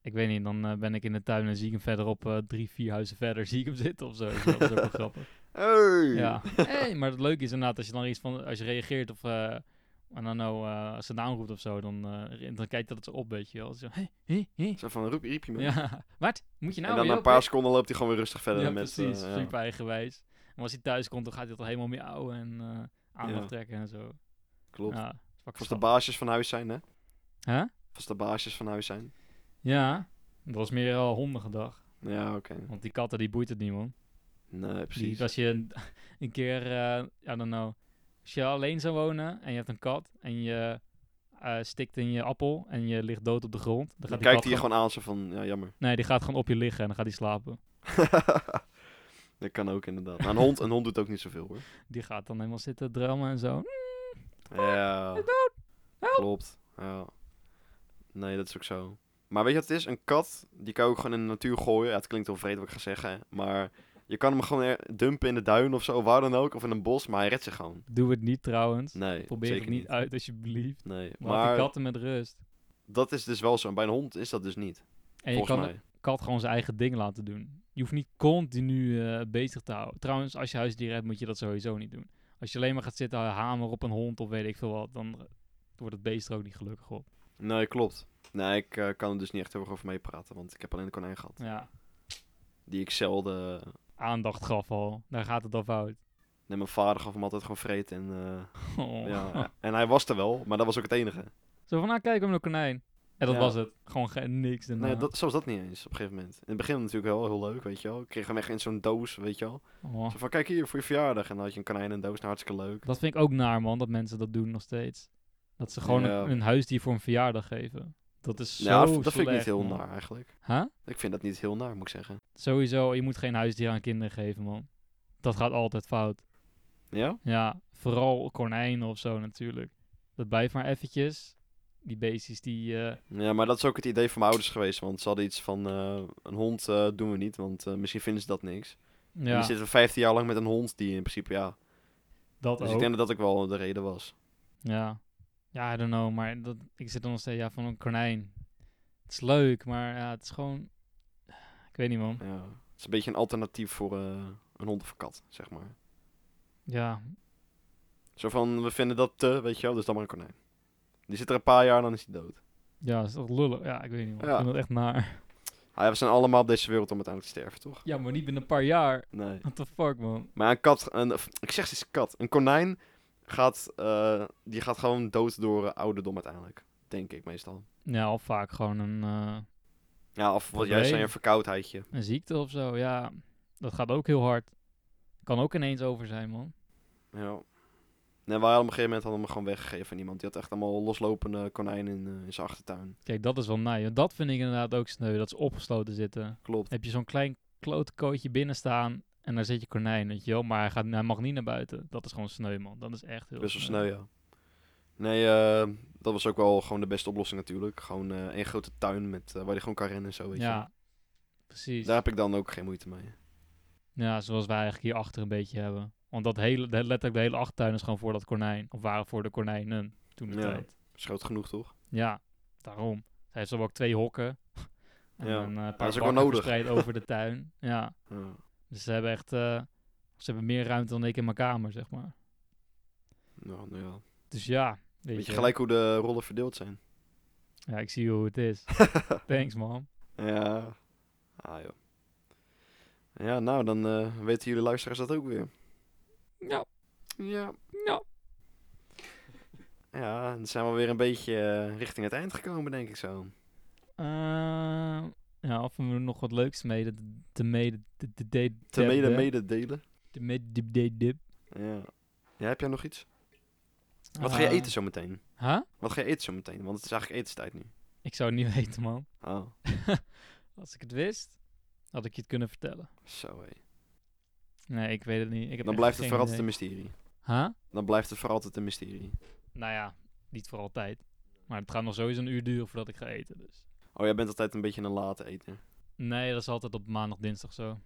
S1: ik weet niet, dan eh, ben ik in de tuin en zie ik hem verderop eh, drie, vier huizen verder zie ik hem zitten of zo. Dus Dat is ook wel grappig.
S2: Hey!
S1: Ja. Hey, maar het leuke is inderdaad, als je dan iets van... Als je reageert of... eh I don't know, eh, als ze naam roept of zo, dan, eh, dan kijkt dat ze op, weet je wel. Zo, hey, hey, hey.
S2: Zo van, roep, riep je me.
S1: Ja, wat? Moet je nou
S2: en
S1: weer
S2: dan na een
S1: op,
S2: paar
S1: hè?
S2: seconden loopt hij gewoon weer rustig verder
S1: Ja,
S2: met... eh,
S1: precies.
S2: ja.
S1: Super eigenwijs. En als hij thuis komt, dan gaat hij het al helemaal miauwen en eh aandacht
S2: Ja.
S1: trekken en zo.
S2: Klopt.
S1: Ja, dat is fucking
S2: Als de
S1: grappig.
S2: baasjes van huis zijn, hè?
S1: Huh?
S2: Als de baasjes van huis zijn.
S1: Ja, dat was meer al hondengedag.
S2: Ja, oké.
S1: Want die katten, die boeit het niet, man.
S2: Nee,
S1: Die-
S2: precies.
S1: als je een, een keer, eh I don't know, als je alleen zou wonen en je hebt een kat en je eh, stikt in je appel en je ligt dood op de grond. Dan, gaat
S2: Dan
S1: die
S2: kijkt
S1: kat
S2: hij je gewoon aan, zo van, ja, jammer.
S1: Nee, die gaat gewoon op je liggen en dan gaat hij slapen.
S2: dat kan ook inderdaad. Maar een hond, een hond doet ook niet zoveel, hoor.
S1: Die gaat dan helemaal zitten drummen en zo.
S2: Ja. Klopt. Ja. Nee, dat is ook zo. Maar weet je wat het is? Een kat, die kan je ook gewoon in de natuur gooien. Ja, het klinkt heel vreed wat ik ga zeggen, maar... Je kan hem gewoon er- dumpen in de duin of zo, waar dan ook, of in een bos, maar hij redt zich gewoon.
S1: Doe het niet trouwens.
S2: Nee,
S1: Probeer
S2: zeker
S1: het niet, uit alsjeblieft.
S2: Nee,
S1: Laat de
S2: maar
S1: katten met rust.
S2: dat is dus wel zo. En Bij een hond is dat dus niet,
S1: En je
S2: volgens
S1: kan
S2: mij.
S1: de kat gewoon zijn eigen ding laten doen. Je hoeft niet continu eh, bezig te houden. Trouwens, als je huisdieren hebt, moet je dat sowieso niet doen. Als je alleen maar gaat zitten eh, hamer op een hond of weet ik veel wat, dan eh, wordt het beest er ook niet gelukkig op.
S2: Nee, klopt. Nee, ik eh, kan er dus niet echt heel erg over meepraten, want ik heb alleen een konijn gehad.
S1: Ja,
S2: Die ik zelden... eh,
S1: aandacht gaf al. Daar gaat het al fout.
S2: Nee, mijn vader gaf hem altijd gewoon vreten en... eh,
S1: Oh.
S2: ja, en hij was er wel, maar dat was ook het enige.
S1: Zo van, nou kijk hem een konijn. En dat
S2: Ja.
S1: was het. Gewoon ge- niks daarna.
S2: Nee, dat, zo was dat niet eens op een gegeven moment. In het begin natuurlijk wel heel leuk, weet je wel. Ik kreeg hem echt in zo'n doos, weet je wel.
S1: Oh.
S2: Zo van, kijk hier, voor je verjaardag. En dan had je een konijn in een doos, nou, hartstikke leuk.
S1: dat vind ik ook naar man, dat mensen dat doen nog steeds. Dat ze gewoon
S2: Ja.
S1: een, een huisdier voor een verjaardag geven. Dat is zo
S2: Ja, Nou, dat, dat vind ik niet
S1: slecht,
S2: heel
S1: man.
S2: naar eigenlijk.
S1: Huh?
S2: Ik vind dat niet heel naar, moet ik zeggen.
S1: Sowieso, je moet geen huisdier aan kinderen geven, man. Dat gaat altijd fout.
S2: Ja?
S1: Ja, vooral konijnen of zo natuurlijk. Dat blijft maar eventjes. Die beestjes die... eh,
S2: Ja, maar dat is ook het idee van mijn ouders geweest. Want ze hadden iets van, eh, een hond eh, doen we niet, want eh, misschien vinden ze dat niks. En
S1: ja,
S2: die zitten 15 jaar lang met een hond die in principe, ja.
S1: dat
S2: Dus
S1: ook.
S2: ik denk dat dat ook wel de reden was.
S1: Ja. ja, I don't know, maar dat, ik zit dan nog steeds ja, van een konijn. Het is leuk, maar ja, het is gewoon... Ik weet niet, man.
S2: Ja. Het is een beetje een alternatief voor eh, een hond of een kat, zeg maar.
S1: Ja,
S2: Zo van, we vinden dat te, weet je wel, dus dan maar een konijn. Die zit er een paar jaar en dan is hij dood.
S1: ja, is toch lullig? Ja, ik weet niet, man.
S2: Ja.
S1: Ik vind dat echt naar.
S2: Ah, ja, we zijn allemaal op deze wereld om uiteindelijk te sterven, toch?
S1: Ja, maar niet binnen een paar jaar.
S2: Nee.
S1: What the fuck, man?
S2: Maar een kat, een, of, ik zeg eens kat, een konijn gaat, eh, die gaat gewoon dood door eh, ouderdom uiteindelijk. Denk ik meestal.
S1: Ja, of vaak gewoon een, eh,
S2: Ja, of wat jij
S1: Oké.
S2: zei, een verkoudheidje.
S1: een ziekte of zo. Ja, dat gaat ook heel hard. Kan ook ineens over zijn, man.
S2: Ja. Nee, wij hadden op een gegeven moment hadden we hem gewoon weggegeven aan iemand. Die had echt allemaal loslopende konijnen in, eh, in zijn achtertuin.
S1: Kijk, dat is wel nice. want Dat vind ik inderdaad ook sneu, dat ze opgesloten zitten.
S2: Klopt.
S1: heb je zo'n klein klotenkootje binnen staan en daar zit je konijn, weet je wel. Maar hij, gaat, hij mag niet naar buiten. Dat is gewoon sneu, man. Dat is echt heel
S2: Best wel sneu, ja. Nee, eh, dat was ook wel gewoon de beste oplossing natuurlijk. Gewoon eh, één grote tuin met, eh, waar hij gewoon kan rennen en zo, weet
S1: Ja,
S2: je.
S1: precies.
S2: Daar heb ik dan ook geen moeite mee.
S1: Ja, zoals wij eigenlijk hierachter een beetje hebben. Want dat hele, de, letterlijk de hele achtertuin is gewoon voor dat konijn. Of waren voor de konijnen toen de
S2: Ja.
S1: tijd.
S2: Is groot genoeg, toch?
S1: Ja, daarom. Hij heeft zo ook twee hokken. En
S2: Ja.
S1: een eh, paar
S2: Dat is ook
S1: bakken
S2: wel nodig.
S1: verspreid over de tuin. Ja,
S2: Ja.
S1: dus ze hebben echt... eh, ze hebben meer ruimte dan ik in mijn kamer, zeg maar.
S2: Nou, nou ja.
S1: Dus ja, weet,
S2: Weet je gelijk hoe de rollen verdeeld zijn?
S1: Ja, ik zie hoe het is. Thanks, man.
S2: Ja. Ah, joh. Ja, nou, dan eh, weten jullie luisteraars dat ook weer.
S1: Ja.
S2: Ja.
S1: Ja.
S2: Ja, dan zijn we weer een beetje eh, richting het eind gekomen, denk ik zo.
S1: Eh, ja, of we nog wat leuks mede te mede te te de-
S2: Te mede
S1: debben.
S2: mededelen.
S1: te mede de- de- de-
S2: Ja. ja. Heb jij nog iets? Wat ga je
S1: Ah.
S2: eten zometeen?
S1: Huh?
S2: Wat ga je eten zometeen? Want het is eigenlijk etenstijd nu.
S1: Ik zou het niet weten, man.
S2: Oh,
S1: Als ik het wist, had ik je het kunnen vertellen.
S2: zo hé.
S1: Nee, ik weet het niet. Ik heb
S2: Dan
S1: echt
S2: blijft het
S1: geen
S2: voor altijd een
S1: idee.
S2: mysterie.
S1: Huh?
S2: Dan blijft het voor altijd een mysterie.
S1: Nou ja, niet voor altijd. Maar het gaat nog sowieso een uur duren voordat ik ga eten, dus...
S2: Oh, jij bent altijd een beetje een late eter.
S1: Nee, dat is altijd op maandag, dinsdag zo.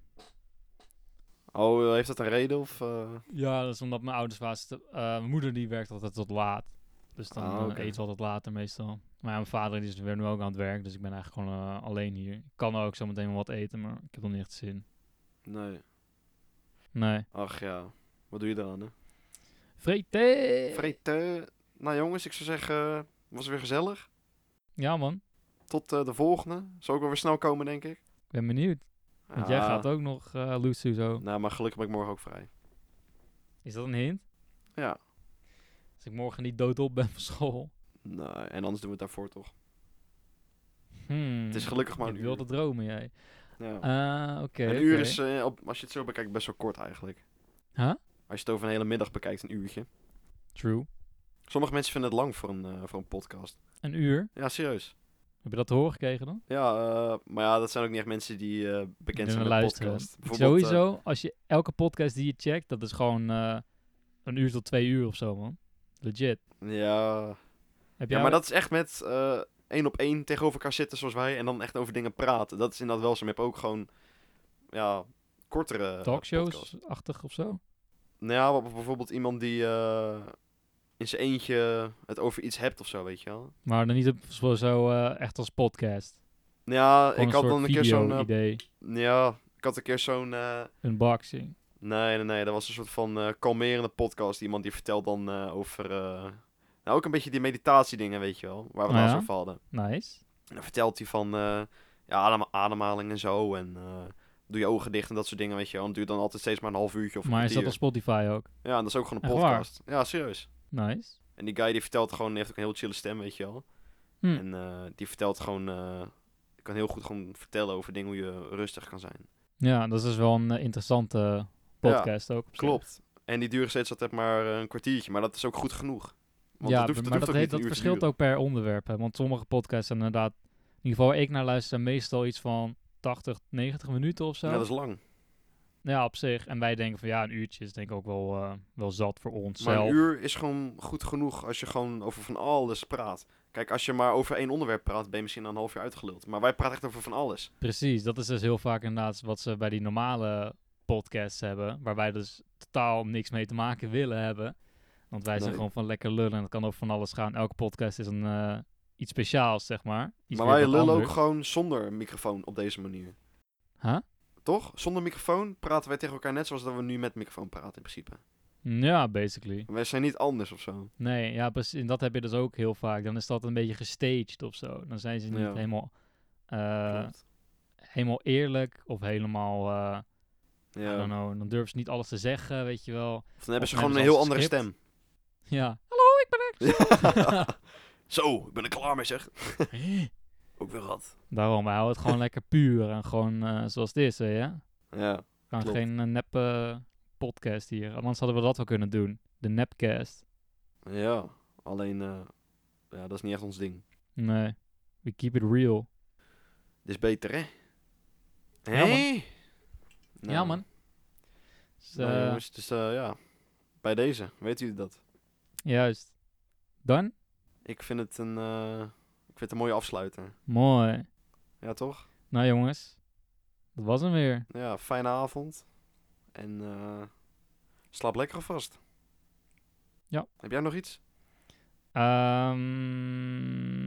S2: Oh, heeft dat een reden of... eh?
S1: Ja, dat is omdat mijn ouders waren... eh, mijn moeder die werkt altijd tot laat. Dus dan
S2: Ah,
S1: eh,
S2: oké.
S1: eten ze altijd later meestal. Maar ja, mijn vader die is weer nu ook aan het werk. Dus ik ben eigenlijk gewoon eh, alleen hier. Ik kan ook zo meteen wel wat eten, maar ik heb nog niet echt zin.
S2: Nee.
S1: Nee.
S2: Ach ja. Wat doe je eraan, hè?
S1: Vreten!
S2: Vreten. Nou jongens, ik zou zeggen... eh, Was weer gezellig.
S1: Ja man,
S2: Tot eh, de volgende. Zal ook wel weer snel komen, denk ik.
S1: ik ben benieuwd. Want jij
S2: Ja.
S1: gaat ook nog eh Lucy zo.
S2: Nou, maar gelukkig ben ik morgen ook vrij.
S1: Is dat een hint?
S2: Ja.
S1: Als ik morgen niet doodop ben van school.
S2: Nou, en anders doen we het daarvoor toch.
S1: Hmm.
S2: Het is gelukkig maar
S1: Je
S2: een
S1: wilde
S2: uur.
S1: dromen jij.
S2: Ja.
S1: Ah, oké.
S2: een uur
S1: oké.
S2: is, eh, op, als je het zo bekijkt, best wel kort eigenlijk.
S1: Huh?
S2: Als je het over een hele middag bekijkt, een uurtje.
S1: True.
S2: Sommige mensen vinden het lang voor een, eh, voor een podcast.
S1: Een uur?
S2: Ja, serieus.
S1: Heb je dat te horen gekregen dan?
S2: Ja, eh, maar ja, dat zijn ook niet echt mensen die eh, bekend
S1: Die
S2: zijn
S1: naar
S2: met
S1: luisteren.
S2: podcast. Bijvoorbeeld, eh,
S1: Sowieso, als je elke podcast die je checkt, dat is gewoon eh, een uur tot twee uur of zo, man. Legit.
S2: eh, ja.
S1: Heb jij
S2: ja, maar dat is echt met eh, één op één tegenover elkaar zitten zoals wij en dan echt over dingen praten. Dat is inderdaad wel zo. Maar je hebt ook gewoon, ja, kortere podcasts.
S1: talkshows-achtig of zo?
S2: Nou ja, wat- bijvoorbeeld iemand die eh, in zijn eentje het over iets hebt of zo, weet je wel.
S1: Maar dan niet op, zo, zo, eh, echt als podcast.
S2: Nou ja,
S1: Gewoon
S2: ik had
S1: soort
S2: dan een keer zo'n... eh,
S1: video-idee,
S2: ja, ik had een keer zo'n... eh,
S1: unboxing.
S2: Nee, nee, nee. Dat was een soort van eh, kalmerende podcast. Iemand die vertelt dan eh, over... eh, nou, ook een beetje die meditatiedingen, weet je wel. Waar we
S1: Ah,
S2: laatst
S1: ja?
S2: over hadden.
S1: Nice.
S2: En dan vertelt hij van eh, ja, adem, ademhaling en zo. En eh, doe je ogen dicht en dat soort dingen, weet je wel. En het duurt dan altijd steeds maar een half uurtje of een
S1: maar is dat op
S2: kwartier.
S1: Spotify ook?
S2: Ja, en dat is ook gewoon een
S1: Echt waar?
S2: podcast. Ja, serieus.
S1: Nice.
S2: En die guy die vertelt gewoon... Die heeft ook een heel chille stem, weet je wel.
S1: Hm.
S2: En eh, die vertelt gewoon... eh kan heel goed gewoon vertellen over dingen hoe je rustig kan zijn.
S1: Ja, dat is dus wel een eh, interessante podcast ook. op zich.
S2: Klopt. En die duren steeds altijd maar eh, een kwartiertje. Maar dat is ook goed genoeg. Want
S1: ja,
S2: dat hoeft, dat
S1: maar
S2: hoeft
S1: dat,
S2: ook
S1: heet-
S2: niet een
S1: dat
S2: uur te
S1: verschilt
S2: duren.
S1: ook per onderwerp. Hè? Want sommige podcasts zijn inderdaad, in ieder geval waar ik naar luister, meestal iets van 80, 90 minuten of zo.
S2: Ja, dat is lang.
S1: Ja, op zich. En wij denken van ja, een uurtje is denk ik ook wel, eh, wel zat voor
S2: Maar
S1: onszelf.
S2: een uur is gewoon goed genoeg als je gewoon over van alles praat. Kijk, als je maar over één onderwerp praat, ben je misschien na een half jaar uitgeluld. Maar wij praten echt over van alles.
S1: Precies, dat is dus heel vaak inderdaad wat ze bij die normale podcasts hebben. Waar wij dus totaal niks mee te maken willen hebben. Want wij zijn
S2: Nee.
S1: gewoon van lekker lullen en het kan over van alles gaan. Elke podcast is een, eh, iets speciaals, zeg maar. Iets
S2: maar
S1: weer
S2: wij
S1: wat
S2: lullen
S1: anders.
S2: ook gewoon zonder microfoon op deze manier.
S1: Huh?
S2: Toch? Zonder microfoon praten wij tegen elkaar net zoals dat we nu met microfoon praten in principe.
S1: Ja, basically.
S2: Wij zijn niet anders of zo.
S1: Nee, ja, precies. En dat heb je dus ook heel vaak. Dan is dat een beetje gestaged of zo. Dan zijn ze niet
S2: Ja.
S1: helemaal, eh,
S2: Klopt.
S1: helemaal eerlijk of helemaal, eh I
S2: Ja.
S1: don't know, dan durven ze niet alles te zeggen, weet je wel.
S2: Of dan hebben ze
S1: Of
S2: gewoon een
S1: hebben
S2: heel
S1: ze
S2: andere
S1: altijd
S2: stem.
S1: Ja. Hallo, ik ben
S2: Zo, ik ben er klaar mee zeg.
S1: er.
S2: Ook weer wat.
S1: Daarom, wij houden het gewoon lekker puur en gewoon eh, zoals het is, hè, ja?
S2: Ja.
S1: Gewoon
S2: Klopt.
S1: geen eh, neppe podcast hier. Anders hadden we dat wel kunnen doen. De nepcast.
S2: Ja. Alleen, eh, ja, dat is niet echt ons ding.
S1: Nee. We keep it real.
S2: Dit is beter, hè?
S1: Ja, man.
S2: Hé? Nou,
S1: Ja, man. Dus,
S2: nou,
S1: eh,
S2: jongens, dus eh, ja, bij deze, weet jullie dat?
S1: juist. Dan?
S2: Ik vind het een, eh, ik vind het een mooie afsluiter.
S1: Mooi.
S2: Ja, toch?
S1: Nou jongens, dat was hem weer.
S2: Ja, fijne avond. En eh, slaap lekker alvast.
S1: Ja.
S2: Heb jij nog iets?
S1: Ehm,